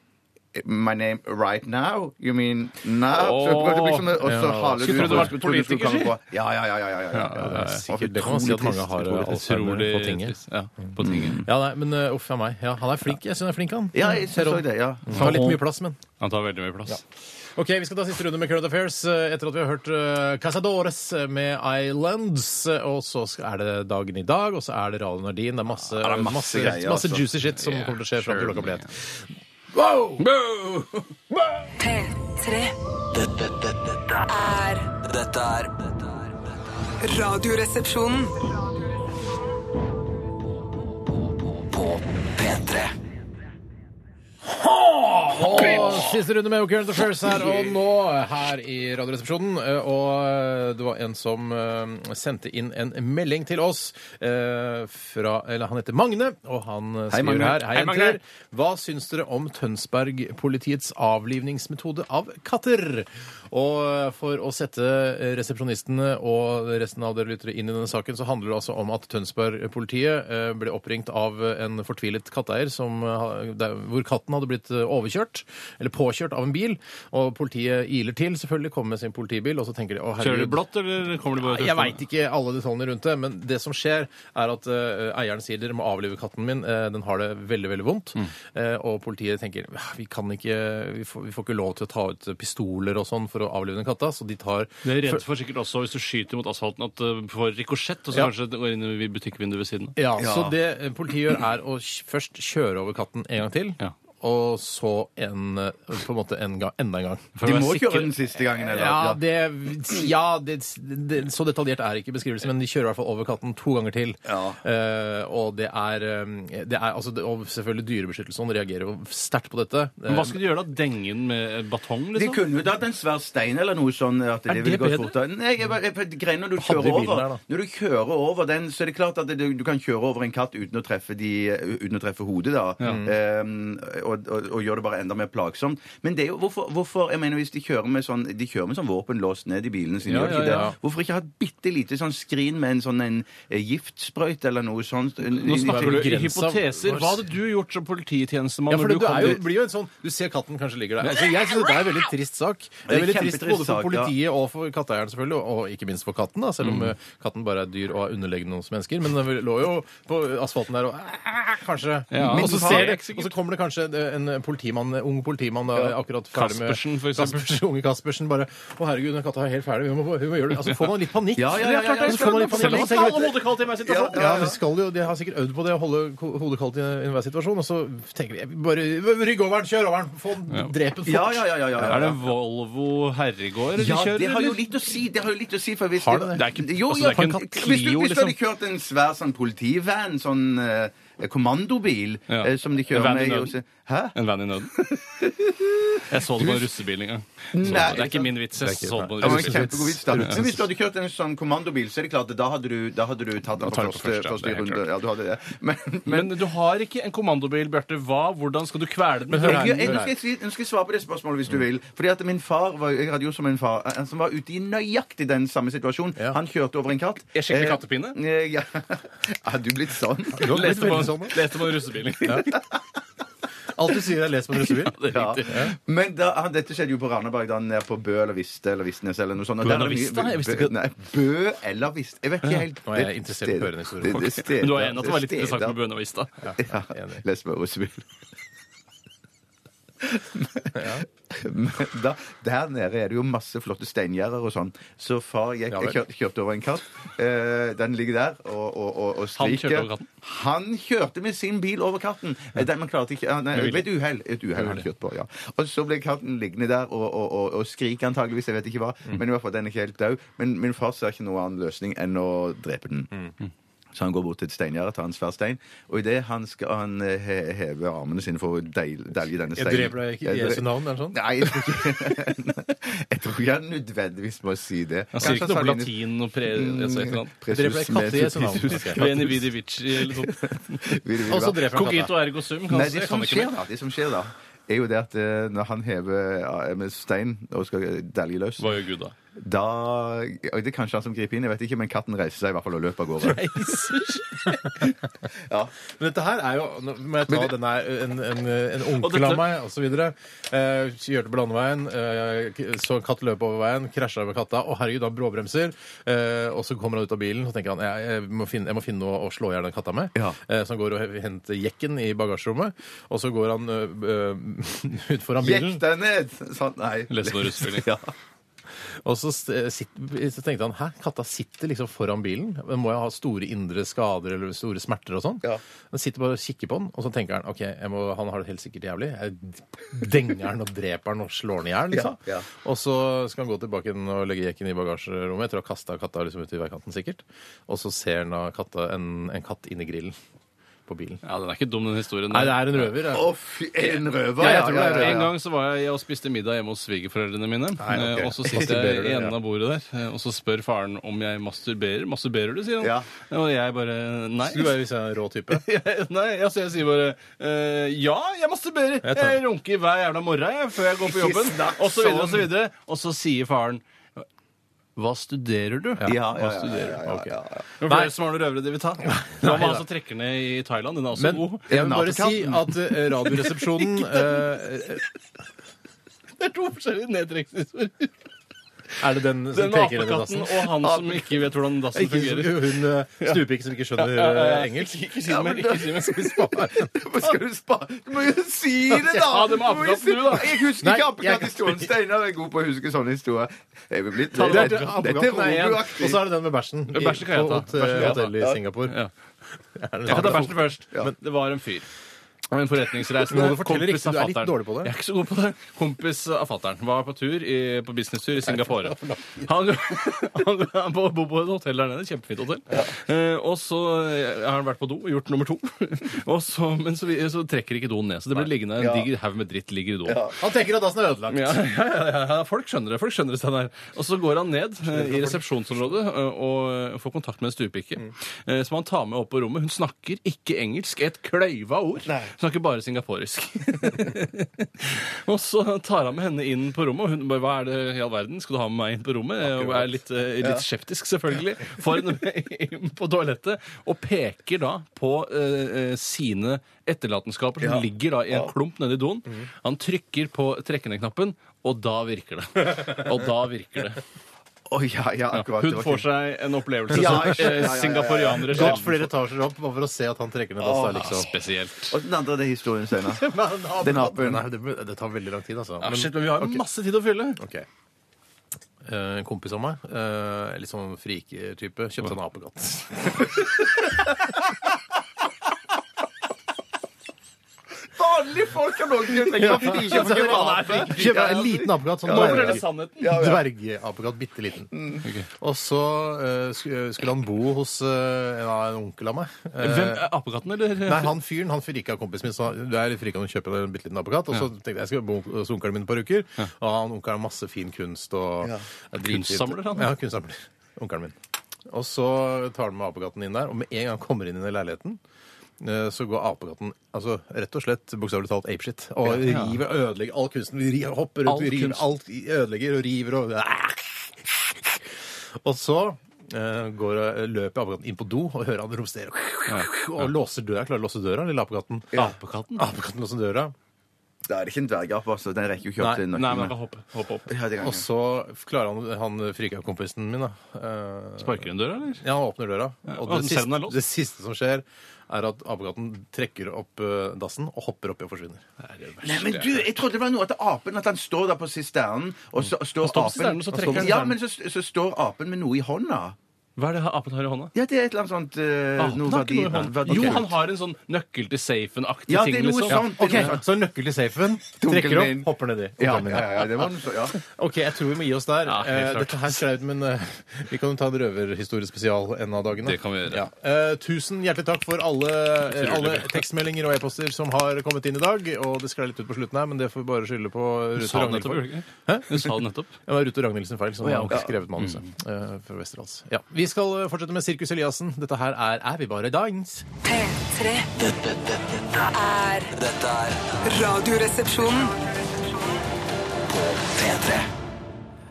My name right now? You mean now? Så hun prøvde liksom, og så Ja. haler du Skulle tro du og var skulle tro du skulle politiker, komme på- Ja, ja, ja. ja, ja, ja, det er sikkert- det kan man Utrolig si at mange trist, har, eh, utrolig trist. Utrolig På tinget. Mm. trist. Ja, på tinget. Ja, nei, men øh, uff a meg. Ja, han er flink. Jeg syns han er flink, han. Ja, jeg Ser så opp. det. ja. Tar litt mye plass, men. Han tar veldig mye plass. Ok, Vi skal ta siste runde med Current Affairs eh, etter at vi har hørt eh, Casadores med Islands. eh, Og så skal- er det dagen i dag, og så er det Radio Nardin. Det er masse, Ja, det er masse masse, greier, masse altså. juicy shit som kommer til å skje fram til sure. klokka blir ett. Wow! P3 Dette, dette, dette er er Dette er dette er- Radioresepsjonen. På P3 Og siste runde med Current Affairs her og nå her i Radioresepsjonen. Eh, Og eh, det var en som eh, sendte inn en melding til oss eh, fra Eller han heter Magne, og han eh, skriver Magne. her. Hei, Hei, Magne. jenter. Hva syns dere om Tønsberg-politiets avlivningsmetode av katter? Og eh, for å sette eh, resepsjonistene og resten av dere lyttere inn i denne saken, så handler det altså om at Tønsberg-politiet eh, ble oppringt av eh, en fortvilet katteeier som, eh, ha- der- hvor katten hadde blitt eh, overkjørt, eller påkjørt av en bil. Og politiet iler til, selvfølgelig, kommer med sin politibil, og så tenker de å Kjører herregud de blått, eller kommer de bare jeg veit ikke alle detaljene rundt det, men det som skjer, er at eh, eieren sier dere må avlive katten min, eh, den har det veldig veldig vondt. Mm. Eh, og politiet tenker «Ah, vi kan ikke, vi får, vi får ikke lov til å ta ut pistoler og sånn for å avlive den katta, så de tar Du er redd for sikkert også hvis du skyter mot asfalten at det får rikosjett, og så Ja. kanskje det går inn i butikkvinduet ved siden av. ja, Så det eh, politiet gjør, er å kj- først kjøre over katten en gang til. Ja. Og så en, eh, på en måte en gang, enda en gang. For å De være må sikker- kjøre den siste gangen, eller? Ja, det, ja det, det, så detaljert er ikke beskrivelsen, men de kjører i hvert fall over katten to ganger til. Ja. Eh, og det er, eh, det er altså, det, Og selvfølgelig dyrebeskyttelsen reagerer jo sterkt på dette. Men hva skulle de gjøre da? Denge den med batong, De liksom? kunne jo tatt en svær stein eller noe sånn at det, det ville gått bedre? fortere. Nei, jeg, bare- jeg, for greien når du Hadde kjører bilen der, over da. Når du kjører over den, så er det klart at du, du kan kjøre over en katt uten å treffe, de, uten å treffe hodet, da. Ehm, og, og, og gjør det bare enda mer plagsomt. Men det er jo hvorfor, hvorfor Jeg mener, hvis de kjører med sånn De kjører med sånn våpenlås ned i bilene sine, Ja, gjør de ikke ja, ja. det? Hvorfor ikke ha et bitte lite sånn skrin med en sånn en, eh, giftsprøyt eller noe sånt? Nå snakker du i Grensa- hypoteser. Hva hadde du gjort som polititjenestemann Ja, for når det, du du kom er jo, dit? blir jo en sånn Du ser katten kanskje ligger der. Altså, jeg synes det er en veldig trist sak. Det Det er er veldig trist kjempetrist både for sak, ja. politiet og for katteeieren, selvfølgelig, og- og ikke minst for katten, da, selv om eh, katten bare er dyr og er underlegen hos mennesker. Men den lå jo på asfalten der og "Æ, Kanskje. Ja, og, men så den ser har- det, og så kommer det kanskje en politimann, en ung politimann da, akkurat ferdig med Kaspersen, for eksempel. Kaspersen, Unge Kaspersen bare Å, herregud, den katta er helt ferdig. Vi må, vi må gjøre det. Altså, får man litt panikk. Ja, ja, ja, ja, ja. Så får man litt panikk. og så tenker man- Ja, altså. ja, men de, skal jo, de har sikkert øvd på det å holde ko- hodet kaldt i enhver situasjon. Og så tenker de jeg vil bare rygg over den, kjør over den, få den, drep den fort. Ja, ja, ja. ja, ja, ja. Er det en Volvo herregård de Ja, kjører, det har jo eller? litt å si. Det har jo litt å si for hvis Har det det? Det er ikke- jo, altså, ja, det er ikke en liksom. hvis, du, hvis Clio, du hadde kjørt en svær sånn politivan, sånn eh, kommandobil, Ja. eh, som de En kjører van i med i nøden. Jose- Hæ? En venn i nøden. Jeg så det på en russebil en gang. Så Det Nei. det er ikke min vits. Jeg så det på en Det var en russebil. kjempegod vits, da. Men hvis du hadde kjørt en sånn kommandobil, så er det klart at da hadde du, da hadde du tatt den tar på du på første, første, ja, det første er helt runde. klart. Ja, du hadde det. Men, Men du har ikke en kommandobil, Bjarte. Hva? Hvordan skal du kvele den? hør Jeg- her. jeg- Nå skal jeg si- nå skal jeg svare på det spørsmålet hvis du vil. Fordi at min far var, jeg hadde jo som en far eh, som var ute i nøyaktig den samme situasjonen. Ja. Han kjørte over en katt. Er Eh, skikkelig kattepine? eh, Ja. Har du blitt sånn? har blitt Leste på, veldig sånn, da. leste på en russebil. Alt du sier er les på en russebil. Ja. Men da, han, dette skjedde jo på Randaberg, da nede på Bø eller Viste eller Vistnes eller noe sånt. Og Bø der eller er det mye- Vista? Jeg visste ikke at- Nei, Bø eller Viste. Jeg vet ikke helt. Nå er jeg interessert i å høre den historien. Det, det, det Men du har enig at det var litt steder- interessant med Buena Vista. Ja, enig. les med russebil. Men da, der nede er det jo masse flotte steingjerder og sånn. Så far gikk, Ja vel. kjørte, kjørte over en katt. Eh, den ligger der og, og, og, og Han skriker. kjørte over katten? Han kjørte med sin bil over katten. Eh, Den man klarte ikke, ah, nei, Med vilje. Ved et uhell. Et uhell han kjørte på, ja. Og så ble katten liggende der og, og, og, og skrike antageligvis, jeg vet ikke hva. Men i hvert fall, den er ikke helt død. Men min far ser ikke noen annen løsning enn å drepe den. Så han går bort til et steingjerde, tar en svær stein, og idet han skal han eh, he- heve armene sine for å deil- delge denne Jeg steinen dreper deg ikke i Jeg Jesu dre- navn, eller sånn? Nei, jeg tror ikke Jeg tror ikke han nødvendigvis må si det. Han sier Kanskje Mm, ikke han sa det noe på latin og pre... Altså et eller annet. Presus Dreper deg katt i Jesu navn. Presus- Ok. Veni vidi vici eller noe sånt. Vil- vil- Og så dreper han katta. Cogito ergo sum. Nei, Kanskje. det Jeg som, kan ikke skjer, mer. da, det som skjer da, er jo det at eh, når han hever eh, med stein og skal delge løs, Hva gjør Gud da? da og Det er kanskje han som griper inn, jeg vet ikke, men katten reiser seg i hvert fall og løper av gårde. Men dette her er jo Nå må jeg ta denne her, en, en, en onkel dette- av meg, osv. Eh, kjørte på landeveien, eh, k- så en katt løp over veien, krasja med katta. Å, herregud, han bråbremser. Eh, og så kommer han ut av bilen og tenker han, jeg, jeg, må, finne, jeg må finne noe å slå i hjel den katta med. Ja. Eh, så han går og henter jekken i bagasjerommet, og så går han eh, eh, ut foran bilen. Jekk deg ned! Sånn, nei. Les noe russpilling. Ja. Og så, st- sitt, så tenkte han hæ, katta sitter liksom foran bilen. Men må jeg ha store indre skader eller store smerter og sånn? Ja. Han sitter bare og kikker på den, og så tenker han ok, jeg må, han har det helt sikkert jævlig. Jeg denger han og dreper han og slår han i hjel. Liksom. Ja, ja. Og så skal han gå tilbake inn og legge jekken i bagasjerommet etter å ha kasta katta liksom ut i veikanten, sikkert. Og så ser han da katta, en, en katt inni grillen på bilen. Ja, Den er ikke dum, den historien. Nei, det er der. en røver. Å, fy, en røver! Ja, jeg tror det er En gang så var jeg og spiste middag hjemme hos svigerforeldrene mine. ok. eh, Og så sitter Masturberer jeg du, i ja. enden av bordet der, eh, og så spør faren om jeg masturberer. 'Masturberer du?' sier han. Ja. Og jeg bare nei. Skulle bare hvis jeg er en rå type. Nei, altså jeg sier bare eh, Ja, jeg masturberer! Jeg Jeg, tar- runker hver jævla morgen jeg, før jeg går på jobben. snakk Og så videre og så sånn. videre. Og så sier faren Hva studerer du? Ja, ja, ja, Hva ja, studerer ja, du? ja, Ok. ja, ja. Men for dere som har noen røvere de vil ta. Hva med han som trekker altså ned i Thailand? Den er også Men god. jeg vil bare si Nabokatten. at eh, Radioresepsjonen eh, Det er to forskjellige nedtrekningshistorier. Er det den som Den med peker inn i apekatten dassen? og han som ikke vet hvordan dassen Ikke som, fungerer. hun eh, stupiken som ikke skjønner eh, engelsk? Ikke si mer. Ikke si mer. Hva skal du spa? Du må jo si det, da! Ja, det må Du jo apekatten si- du, da. Jeg husker Nei, ikke jeg- apekatthistorien. Steinar er god på å huske sånne historier. Jeg vil bli Det er- Dette Apekatten er er én, Robo-aktig. og så er det den med bæsjen. i- Bæsjen kan jeg på ta. hot- Bæsjen kan jeg ta. Hotell i Singapore. Ja. Er det Jeg kan ta sånn? bæsjen først. Men det var en fyr. Og En forretningsreisende Må du fortelle kompis riktig? av Du er litt fatteren. dårlig på det. Jeg er ikke så god på det. Kompis av fattern var på tur i, på businesstur i Singapore. Han, han, han bor bor på et hotell der nede. et Kjempefint hotell. Eh, og så har han vært på do og gjort nummer to. og så, men så, vi- så trekker ikke doen ned. Så det blir liggende en diger haug med dritt ligger i doen. Han tenker at dassen er ødelagt. Ja, ja, ja, ja, folk skjønner det. folk skjønner det, Steinar. Og så går han ned eh, i resepsjonsområdet eh, og eh, får kontakt med en stuepikke eh, som han tar med opp på rommet. Hun snakker ikke engelsk. Et kløyva ord. Hun snakker bare singaporisk. og så tar han med henne inn på rommet, og hun bare Hva er det eh, i all verden? Skal du ha med meg inn på rommet? Eh, Og er litt, eh, litt skeptisk, selvfølgelig. Får henne inn på toalettet og peker da på eh, eh, sine etterlatenskaper som ligger da i en klump nedi doen. Mhm. Han trykker på trekkeneknappen, og da virker det. Og da virker det. Å, ja, ja, akkurat. det Hun var får ikke- seg en opplevelse Ja, som ja, ja, ja, eh, ja. singaporianere Gått sjelden flere etasjer opp bare for å se at han trekker ned dassa. Liksom. Spesielt. Og den andre det er historien, Steinar. Den Den apen. Nei, det, det tar veldig lang tid, altså. Ja, Men- shit, men vi har jo masse tid å fylle. Ok. Eh, En kompis av meg, eh, litt sånn friker-type, kjøpte en apekatt. Vanlige folk har noen til å tenke på. De kjøper ikke Ja, ape. Kjøpte en liten apekatt. Sånn Nå dverg- forteller sannheten. Dvergapekatt. Bitte liten. Og så eh, sk- skulle han bo hos eh, en av- en onkel av meg. Eh, Hvem, er Apekatten, eller? Nei, han fyren han frika kompisen min. Så han- du er litt frika når du kjøper deg en bitte liten apekatt. Og så tenkte jeg jeg skal bo hos onkelen min et par uker. Og han onkelen har masse fin kunst og er dritfint. Kunstsamler, han. Ja, kunstsamler. Onkelen min. Og så tar han med apekatten inn der, og med en gang han kommer inn i leiligheten eh, så går apekatten altså, rett og slett bokstavelig talt apeshit og river og ødelegger all kunsten. Vi ri- hopper rundt, All vi river kunst. alt, i- ødelegger og river og Og så eh, går, løper apekatten inn på do og hører han romstere og låser døra. Klarer å låse døra, lille apekatten. Apekatten? Apekatten låser døra, Da er det ikke en dvergape, altså. Den rekker jo ikke Nei, opp til Nei, men han kan nøklene. hoppe, hoppe opp. Ja, det kan og jeg. så klarer han, han frika kompisen min, da. Eh, Sparker hun døra, eller? Ja, han åpner døra. og Og den det, selv om siste, den er låst? det siste som skjer, er at apekatten trekker opp eh, dassen og hopper oppi og forsvinner. Nei, men du, jeg trodde det var noe til apen, at han står der på sisternen, og så står står på sisternen, apen og så trekker han Ja, sisternen. men så, så står apen med noe i hånda. Hva er det apen har i hånda? Ja, det er et eller annet sånt eh, Apen noe har verdi, ikke Ah, noe i hånda. verdi. Jo, han har en sånn nøkkel til safen-aktig Ja, ting. det er noe liksom. sånt. Ok, det er noe sånt. Så nøkkel til safen, Dunkelen trekker opp, min. hopper nedi. Ja, Hopper nedi. ja, ja, det var noe sånt. Ja. Ok, jeg tror vi må gi oss der. Ja, helt Eh, klart. Dette her skrev ut, men eh, vi kan jo ta en røverhistoriespesial en av dagene. Det kan vi gjøre. Ja. Eh, tusen hjertelig takk for alle, eh, alle tekstmeldinger og e-poster som har kommet inn i dag. Og det sklei litt ut på slutten her, men det får vi bare skylde på Hun Ruth sa og det Ragnhild. nettopp. for. gjorde du ikke? Hun sa det nettopp. Det var Ruth og Ragnhild sin feil, som Å, ja, ok. har Mm. skrevet manuset eh, fra Westerdals. Ja. Vi skal eh, fortsette med Sirkus Eliassen. Dette her er Er vi bare dans? P3. Dette, dette, Er dette er Radioresepsjonen. P3.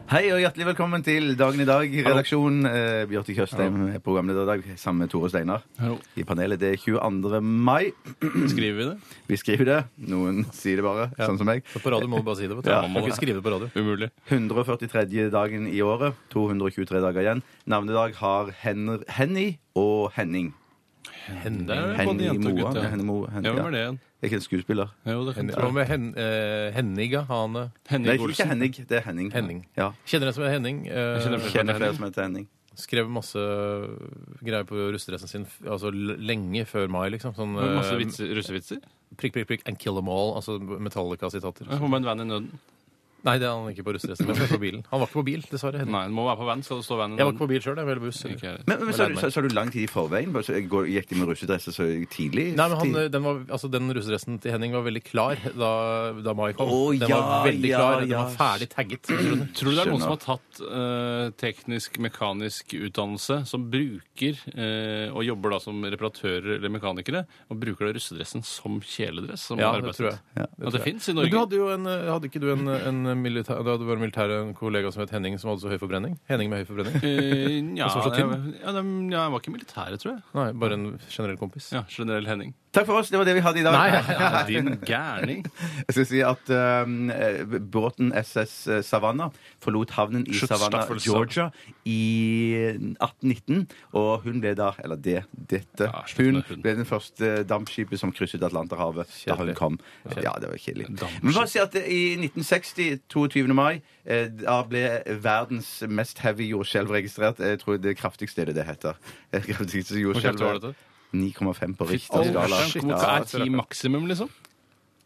Hei og hjertelig velkommen til Dagen i dag, redaksjon. Eh, Bjarte Tjøstheim er programleder i dag, sammen med Tore Steinar. Hallo. I panelet det er 22. mai. Skriver vi det? Vi skriver det. Noen sier det bare, sånn som meg. Så På radio må du bare si det. vet du. Ja, Man må ikke skrive det på radio. Umulig. 143. dagen i året. 223 dager igjen. Navnedag har Henner, Henny og Henning. Det er både Henny jente og Moa. gutt. Henny Moa, Hen- Ja, hvem ja. er det igjen? Er ikke en skuespiller? Jo, det kan Henning. Hva med hen, eh, Henniga? Hane? Nei, Henning ikke Olsen. Henning. Det er Henning. Henning. Ja. Kjenner en som er Henning. eh, kjenner flere. Kjenner flere som heter Henning. Skrev masse greier på russedressen sin f- altså l- lenge før mai, liksom. Sånn Med Masse eh, vitser, russevitser. prikk, prikk, prikk, and kill them all. Altså Metallica-sitater. Hvor med en van i nøden? Nei, det er han ikke på russedressen. men på bilen. Han var ikke på bil, dessverre. Henning. Nei, den må være på van. Skal det stå van i Jeg var ikke nøden? på bil sjøl, jeg var på buss. Ikke jeg. Men, men sa, du, sa, sa du lang tid i forveien? Bare så- går- Gikk de med russedresser så tidlig? Nei, men han, eh, den, var, altså, den russedressen til Henning var veldig klar da, da mai kom. Å, den ja, var veldig ja, klar. Den ja. var ferdig tagget. tror du? Tror du det er noen som Skjønner. har tatt eh, teknisk, mekanisk utdannelse, som bruker eh, og jobber da som reparatører eller mekanikere, og bruker da russedressen som kjeledress? Som Ja, det arbeidsdress? tror jeg. At det fins i Men du Norge? hadde jo en, eh, hadde ikke du en, en militær, du hadde vært militær en kollega som het Henning, som hadde så høy forbrenning? Henning med høy forbrenning? Eh, ja, Som så jeg, tynn? ja, dem- ja, jeg var ikke i militæret, tror jeg. Nei, bare en generell kompis. Ja, Generell Henning. Takk for oss, det var det vi hadde i dag. Ja, din gærning. Jeg skal si at ehm, eh, båten SS Savannah forlot havnen i Slutt, Savannah, Staffel, sa- Georgia i 1819. Og hun ble da, eller det, dette Ja, slutt Hun med hun. ble den første dampskipet som krysset Atlanterhavet da hun Kjedelig. kom. Ja, det var kjedelig. Dampskip. Men bare si at eh, i 1960, 22. mai, eh, da ble verdens mest heavy jordskjelv registrert. Jeg tror det kraftigste er det det heter. Eh, Kraftigste kraftig var jordskjelv. dette? 9,5 på Richters skala. shit. Hvorfor Ja, er ti maksimum, liksom?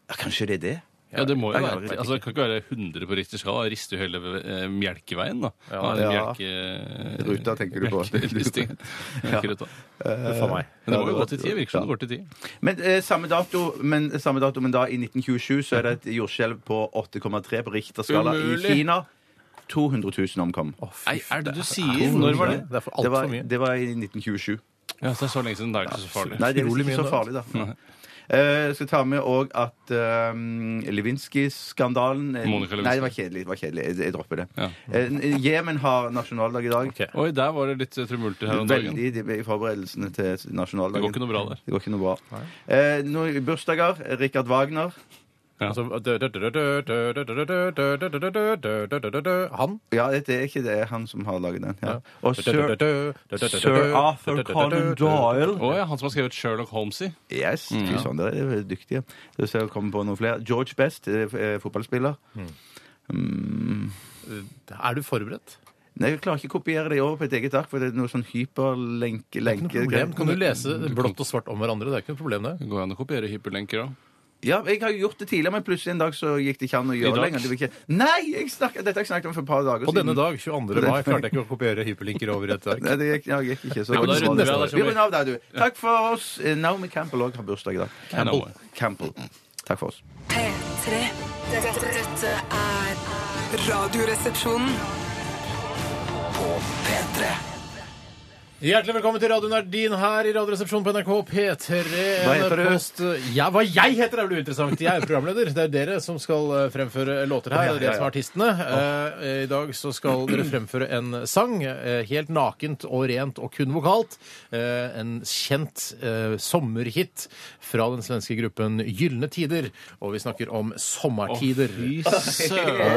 ja, kanskje det er det? Ja, det må jo Nei, være jeg vet altså, Det kan ikke være 100 på Richter skala. Det Rister jo hele eh, melkeveien, da. Ja, Ja. Melke, Ruta tenker du på. Melkeristing. Melkeruta. Faen meg. Ja, Men det må det jo var- gå til ti. Virker som det går til ti. Men, eh, samme dato, men samme dato, men da i 1927 så er det et jordskjelv på 8,3 på Richter-skala i Umulig. Kina. 200 000 omkom. Nei, er det du sier? Når var det? Det er for Det var, altfor mye. det var i 1927. Ja, så det er så lenge siden. Da er det ikke så farlig. Nei, det er Utrolig visst ikke mye så farlig, da. Eh, Jeg skal ta med òg at um, Lewinsky-skandalen eh, Monica Lewinsky. Nei, det var kjedelig. Det var kjedelig. Jeg, jeg dropper det. Ja. Eh, Jemen har nasjonaldag i dag. Ok. Oi, der var det litt eh, tumulter her om dagen. Veldig de- i forberedelsene til nasjonaldagen. Det går ikke noe bra der. Det går ikke noe bra. Eh, nå, bursdager. Richard Wagner. Altså, Han? Ja, det er ikke det han som har laget den. Ja. Ja. Og Sir, Sir Arthur Conan Doyle. Å ja, han som har skrevet Sherlock Holmes i. Yes, fy søren, dere er jo dyktige. Skal vi se om det kommer på noen flere. George Best, eh, f- eh, fotballspiller. Er du forberedt? Nei, Jeg klarer ikke å kopiere det over på et eget ark, for det er noe sånn hyperlenke Ikke noe problem. Kan du lese blått og svart om hverandre? Det er ikke noe problem, det. Det går an å kopiere hyperlenker òg. Ja, jeg har jo gjort det tidligere, men plutselig en dag så gikk det ikke an å gjøre det dag? lenger. Det var ikke... Nei! Jeg snakket, dette har jeg snakket om for et par dager På denne siden. dag, 22. mai, klarte jeg ikke å kopiere hyperlinker over i et ark. Nei, det gikk, ja, det gikk ikke. Så Ja, men da det var runder det. vi av, da, vi runder av der, du. Takk for oss. Eh, Naomi Campbell òg har bursdag i dag. Campbell. Campbell. Takk for oss. P3. Dette, dette er Radioresepsjonen. P3. Hjertelig velkommen til Radio Nardin her i Radioresepsjonen på NRK P3. Hva heter du? Post- Ja, hva jeg heter er vel uinteressant. Jeg er jo programleder. Det er dere som skal eh, fremføre låter her. Det er Ja, ja, dere ja. som er artistene. Eh, I dag så skal dere fremføre en sang. eh, Helt nakent og rent og kun vokalt. Eh, En kjent eh, sommerhit fra den svenske gruppen Gylne tider. Og vi snakker om sommertider.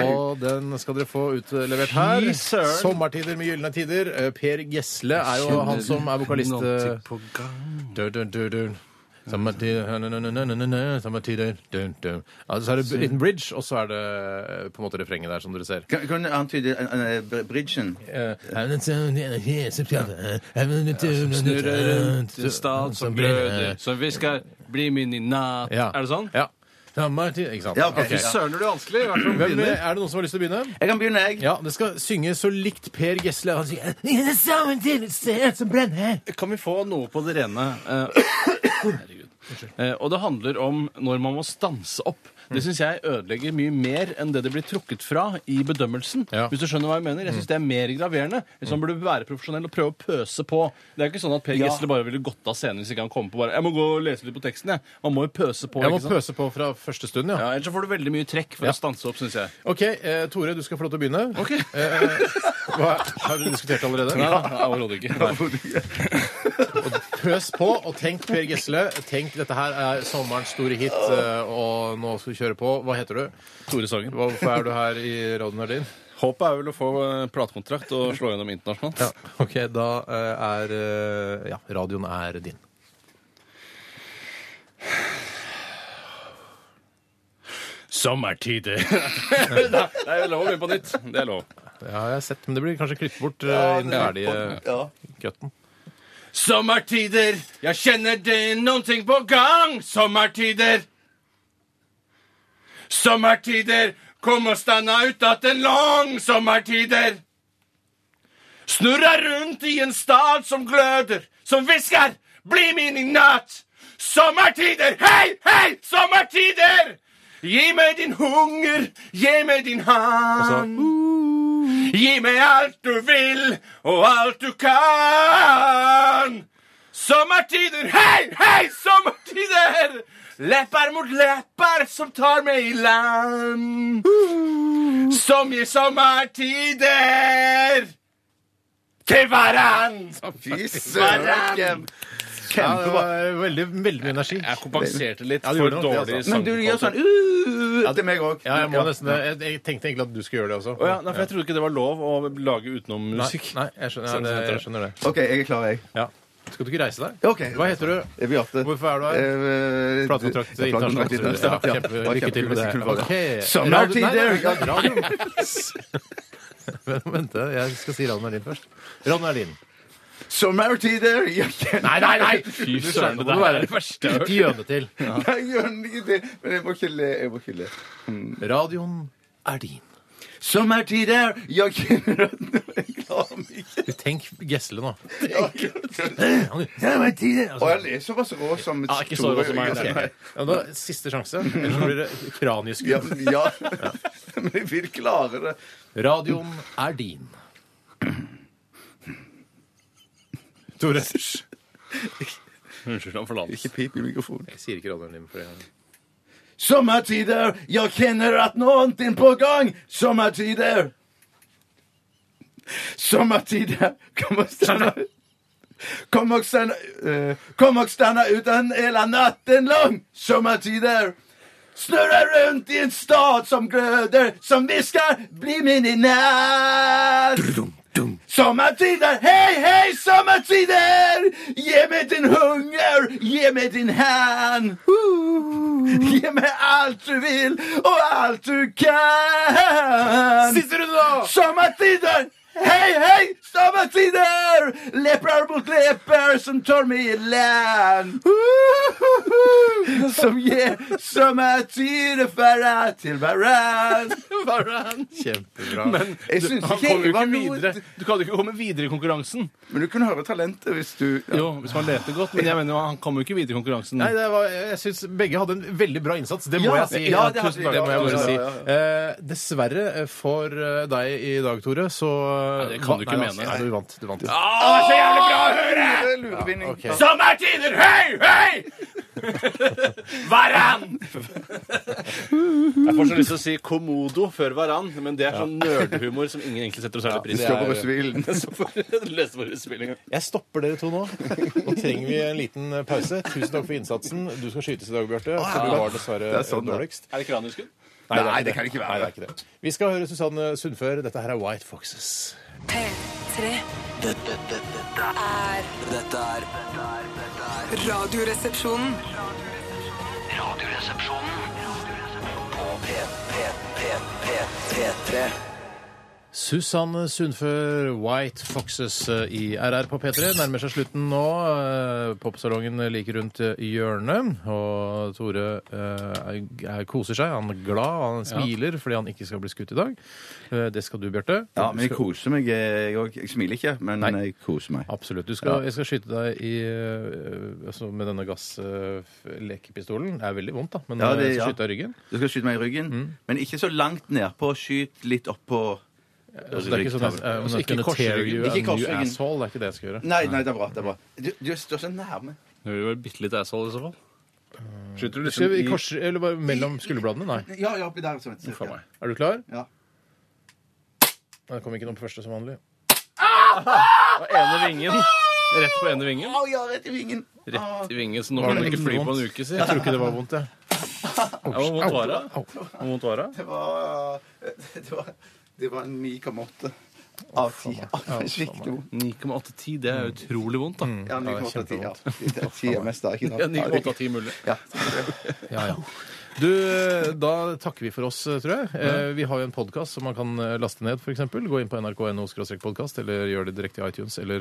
Og den skal dere få utlevert her. Fy søren. Sommertider med gylne tider. Eh, Per Gjesle er jo han som er vokalist. eh, på gang. dun, dun, dun, dun. Sommertider, na-na-na-na-na-na, sommertider, dun, dun. Ja, Så er det en liten bridge, og så er det eh, på en måte refrenget der, som dere ser. Kan, kan du antyde en- en- eh, br- bridgen? Eh, Snurre så vi skal bli min i natt. Ja. Er det sånn? Ja. Sommertider, ikke sant. Ja, ok. Ok. Ja. Søren, det er vanskelig. i hvert fall. Hvem, eh, er det noen som har lyst til å begynne? Jeg kan begynne, jeg. Ja, det skal synge så likt Per Gessle. Han sier «I det samme tid, ser jeg som brenner». Kan vi få noe på det rene? eh, Herregud. Eh, Og det handler om når man må stanse opp. Det syns jeg ødelegger mye mer enn det det blir trukket fra i bedømmelsen. Ja. Hvis du skjønner hva jeg mener. Jeg syns det er mer graverende. Sånn burde du være profesjonell og prøve å pøse på. Det er ikke sånn at Per Gessle bare ville gått av scenen hvis ikke han kom på bare Jeg må gå og lese litt på teksten, jeg. Man må jo pøse på. Jeg må ikke sant? pøse på fra første stund, ja. Ja, Ellers så får du veldig mye trekk for Ja. å stanse opp, syns jeg. OK, eh, Tore, du skal få lov til å begynne. Eh, hva, har dere diskutert allerede? Nei, nei, Overhodet ikke. Pøs på, og tenk Per Gessle. Tenk dette her er sommerens store hit, eh, og nå skal vi kjøre på. Hva heter du? Tore Sagen. Hvorfor er du her i Radio Nardin? Håpet er vel å få eh, platekontrakt og slå gjennom internasjonalt. Ja, OK, da eh, er eh, Ja, radioen er din. Sommertider. Nei, det er lov å begynne på nytt. Det er lov. Ja, jeg har sett, men det blir kanskje klippet bort eh, i den ferdige cutten. Sommertider, jeg kjenner det er noen ting på gang. Sommertider. Sommertider, kom og stanna ut at en lang sommertider. Snurra rundt i en stad som gløder, som hvisker, bli min i natt. Sommertider, hei, hei, sommertider! Gi meg din hunger, gi meg din hand. Gi meg alt du vil og alt du kan. Sommertider, hei, hei, sommertider! Lepper mot lepper som tar meg i land. Som gir sommertider til hverann. Fy søren! Ja, det Kjempebra. var veldig, veldig mye energi. Jeg kompenserte litt Ja, du for gjorde nok det, dårlig altså. Men sang. du gjør sånn uh, til meg òg. Ja, jeg må nesten det. Jeg, jeg tenkte egentlig at du skulle gjøre det også. jeg trodde ikke det var lov å lage utenom Nei, nei, jeg skjønner, Sånn, ja, det, jeg skjønner det. OK, jeg er klar, jeg. Ja. Skal du ikke reise deg? Ok. Hva heter du? Eh, Bjarte. Hvorfor er du her? Eh, Platekontrakt ja, internasjonalt. platekontrakt internasjonalt, Ja, ja. kjempe, Det var lykke til med det. kjempekult for Ok. Sommertider! Radio- nei, nei, nei, radio. Vent, vent, jeg skal si Radio Merlin først. Radio Merlin. Sommertider! Jeg kjenner Nei, nei, nei! Fy Du søren, skjønner må det der er være det verste jeg har Ikke gjøne til. Nei, jeg gjør ikke det. Men jeg må ikke le. Jeg må ikke le. Radioen er din. Sommertider! Jeg kjenner at nå er jeg klar meg. Du, Tenk Gesle nå. Og jeg Sommertider! er altså. såpass rå som Ja, ikke så rå som meg, Tore. nei. Ja, da, siste sjanse, ellers så blir det Ja, kranieskudd. men- ja. Men jeg vil klare det. Radioen er din. Tore. Jeg Unnskyld, han forlater. Ikke pip i mikrofonen. sier ikke radioen din. for jeg- Sommertider, jeg kjenner at noen er på gang. Sommertider. Sommertider, kom og stanna Kom og stanna, eh, kom og stanna utan hela natten lång. Sommertider. Snurra rundt i en stad som glöder, som viskar bli min i natt. Sommertider, hei, hei, sommertider! Gi meg din hunger, gi meg din hand. Uh, Gi meg alt du vil, og alt du kan. Siste runde, da! Sommertider! Hei, hei, sommertider! Lepper mot lepper som tar meg i land. Uh, Som gir sommertider færa til hverand. Kjempebra. Men Jeg du, synes han ikke kom jo det var ikke noe- videre. Du kan jo ikke komme videre i konkurransen. Men du kunne høre talentet hvis du Jo, hvis man leter godt, men jeg mener jo han kom jo ikke videre i konkurransen. Nei, det var, jeg syns begge hadde en veldig bra innsats. Det må Ja, jeg si. ja, det hadde Tusen de. takk, det må jeg bare Ja, si. ja, ja, Eh, dessverre eh, for eh, deg i dag, Tore, så det kan du ikke Nei, altså, mene. Nei, du vant. Du vant. Ah, så jævlig bra å høre! Lurevinning. ok. Sommertider, hei, hei! Varann! Jeg får så lyst til å si Komodo før Varann, men det er sånn nerdhumor som ingen egentlig setter særlig pris Slå på russebilen. på. Lese på russebilen. Jeg stopper dere to nå. Nå trenger vi en liten eh, pause. Tusen takk for innsatsen. Du skal skytes i dag, Bjarte, for du var dessverre Ah, er sånn, eh, da. dårligst. Er det kraniskudd? Nei, Nei, er det kan ikke være. Nei, det er ikke det. Vi skal høre Susanne Sundfør. Dette her er White Foxes. P3 Dette, dette, dette er- dette er Radioresepsjonen. Radioresepsjonen på P, P, P, P, P3. Susanne Sundfør White Foxes eh, i RR på P3 nærmer seg slutten nå. Eh, Popsalongen like rundt eh, hjørnet. Og Tore eh, er- koser seg. Han er glad, og han smiler fordi han ikke skal bli skutt i dag. Eh, Det skal du, Bjarte. Ja, men Du jeg skal- koser meg. Jeg, òg. jeg smiler ikke, men jeg koser meg. Absolutt. Du skal, Jeg skal skyte deg i, eh, altså med denne gasslekepistolen. Det er veldig vondt, da, men eh, Ja, det- jeg skal ja. skyte deg i ryggen. Du skal skyte meg i ryggen, Mm. men ikke så langt nedpå. Skyt litt oppå. Altså, det er ikke sånn at, eh, I'm Altså, not ikke gonna tear korsryggen. you a Ikke new korsryggen. asshole. Det er ikke det jeg skal gjøre. Nei, nei, det er bra. det er bra. Du, du står så nærme. Det vil være bitte litt asshole i så fall. Skyter du Skal liksom vi i kors, eller bare mellom skulderbladene? Nei. Ja, ja, oppi der. Sånn, for cirka. meg? Er du klar? Ja. Det kom ikke noe på første som vanlig. På ene vingen. Rett på ene vingen. Å ja, rett i vingen! Rett i vingen, så nå Var kan du det ikke fly på en vondt? uke, si. Jeg tror ikke det var vondt, jeg. Hvor vondt var det? Au. Hvor vondt var det? Det var Det var, det var en 9,8 av 10. Ja, Skikkelig vondt. 9,8-10, det er utrolig vondt, da. Ja, 9,8 av 10. Ja. Det er 10 er mest da, ikke sant? Ja, 9,8-10 mulig. Ja. Ja, ja. Du, da takker vi for oss, tror jeg. Eh, Vi har jo en podkast som man kan eh, laste ned, f.eks. Gå inn på nrk.no podkast, eller gjør det direkte i iTunes, eller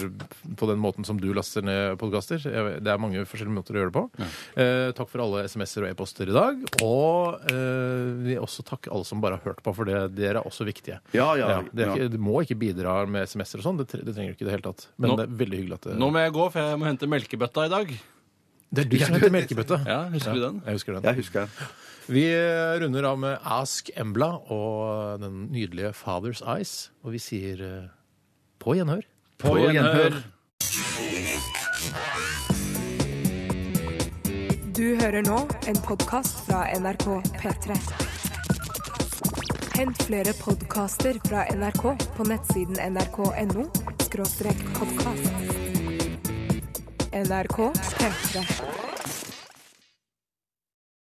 på den måten som du laster ned podkaster. Det er mange forskjellige måter å gjøre det på. Eh, Takk for alle SMS-er og e-poster i dag. Og eh, vi også takke alle som bare har hørt på, for det, dere er også viktige. Ja, ja, det er ja. ikke, du må ikke bidra med SMS-er og sånn, det, tre- det trenger du ikke i det hele tatt. Men Nå- det er veldig hyggelig at det, Nå må jeg gå, for jeg må hente melkebøtta i dag. det er du som heter melkebøtte. Ja, husker du den? Jeg husker den. Jeg husker den. Vi runder av med Ask Embla og den nydelige Father's Eyes. Og vi sier eh, på gjenhør. På gjenhør. Du hører nå en podkast fra NRK P3. Hent flere podkaster fra NRK på nettsiden nrk.no podkast. NRK P3.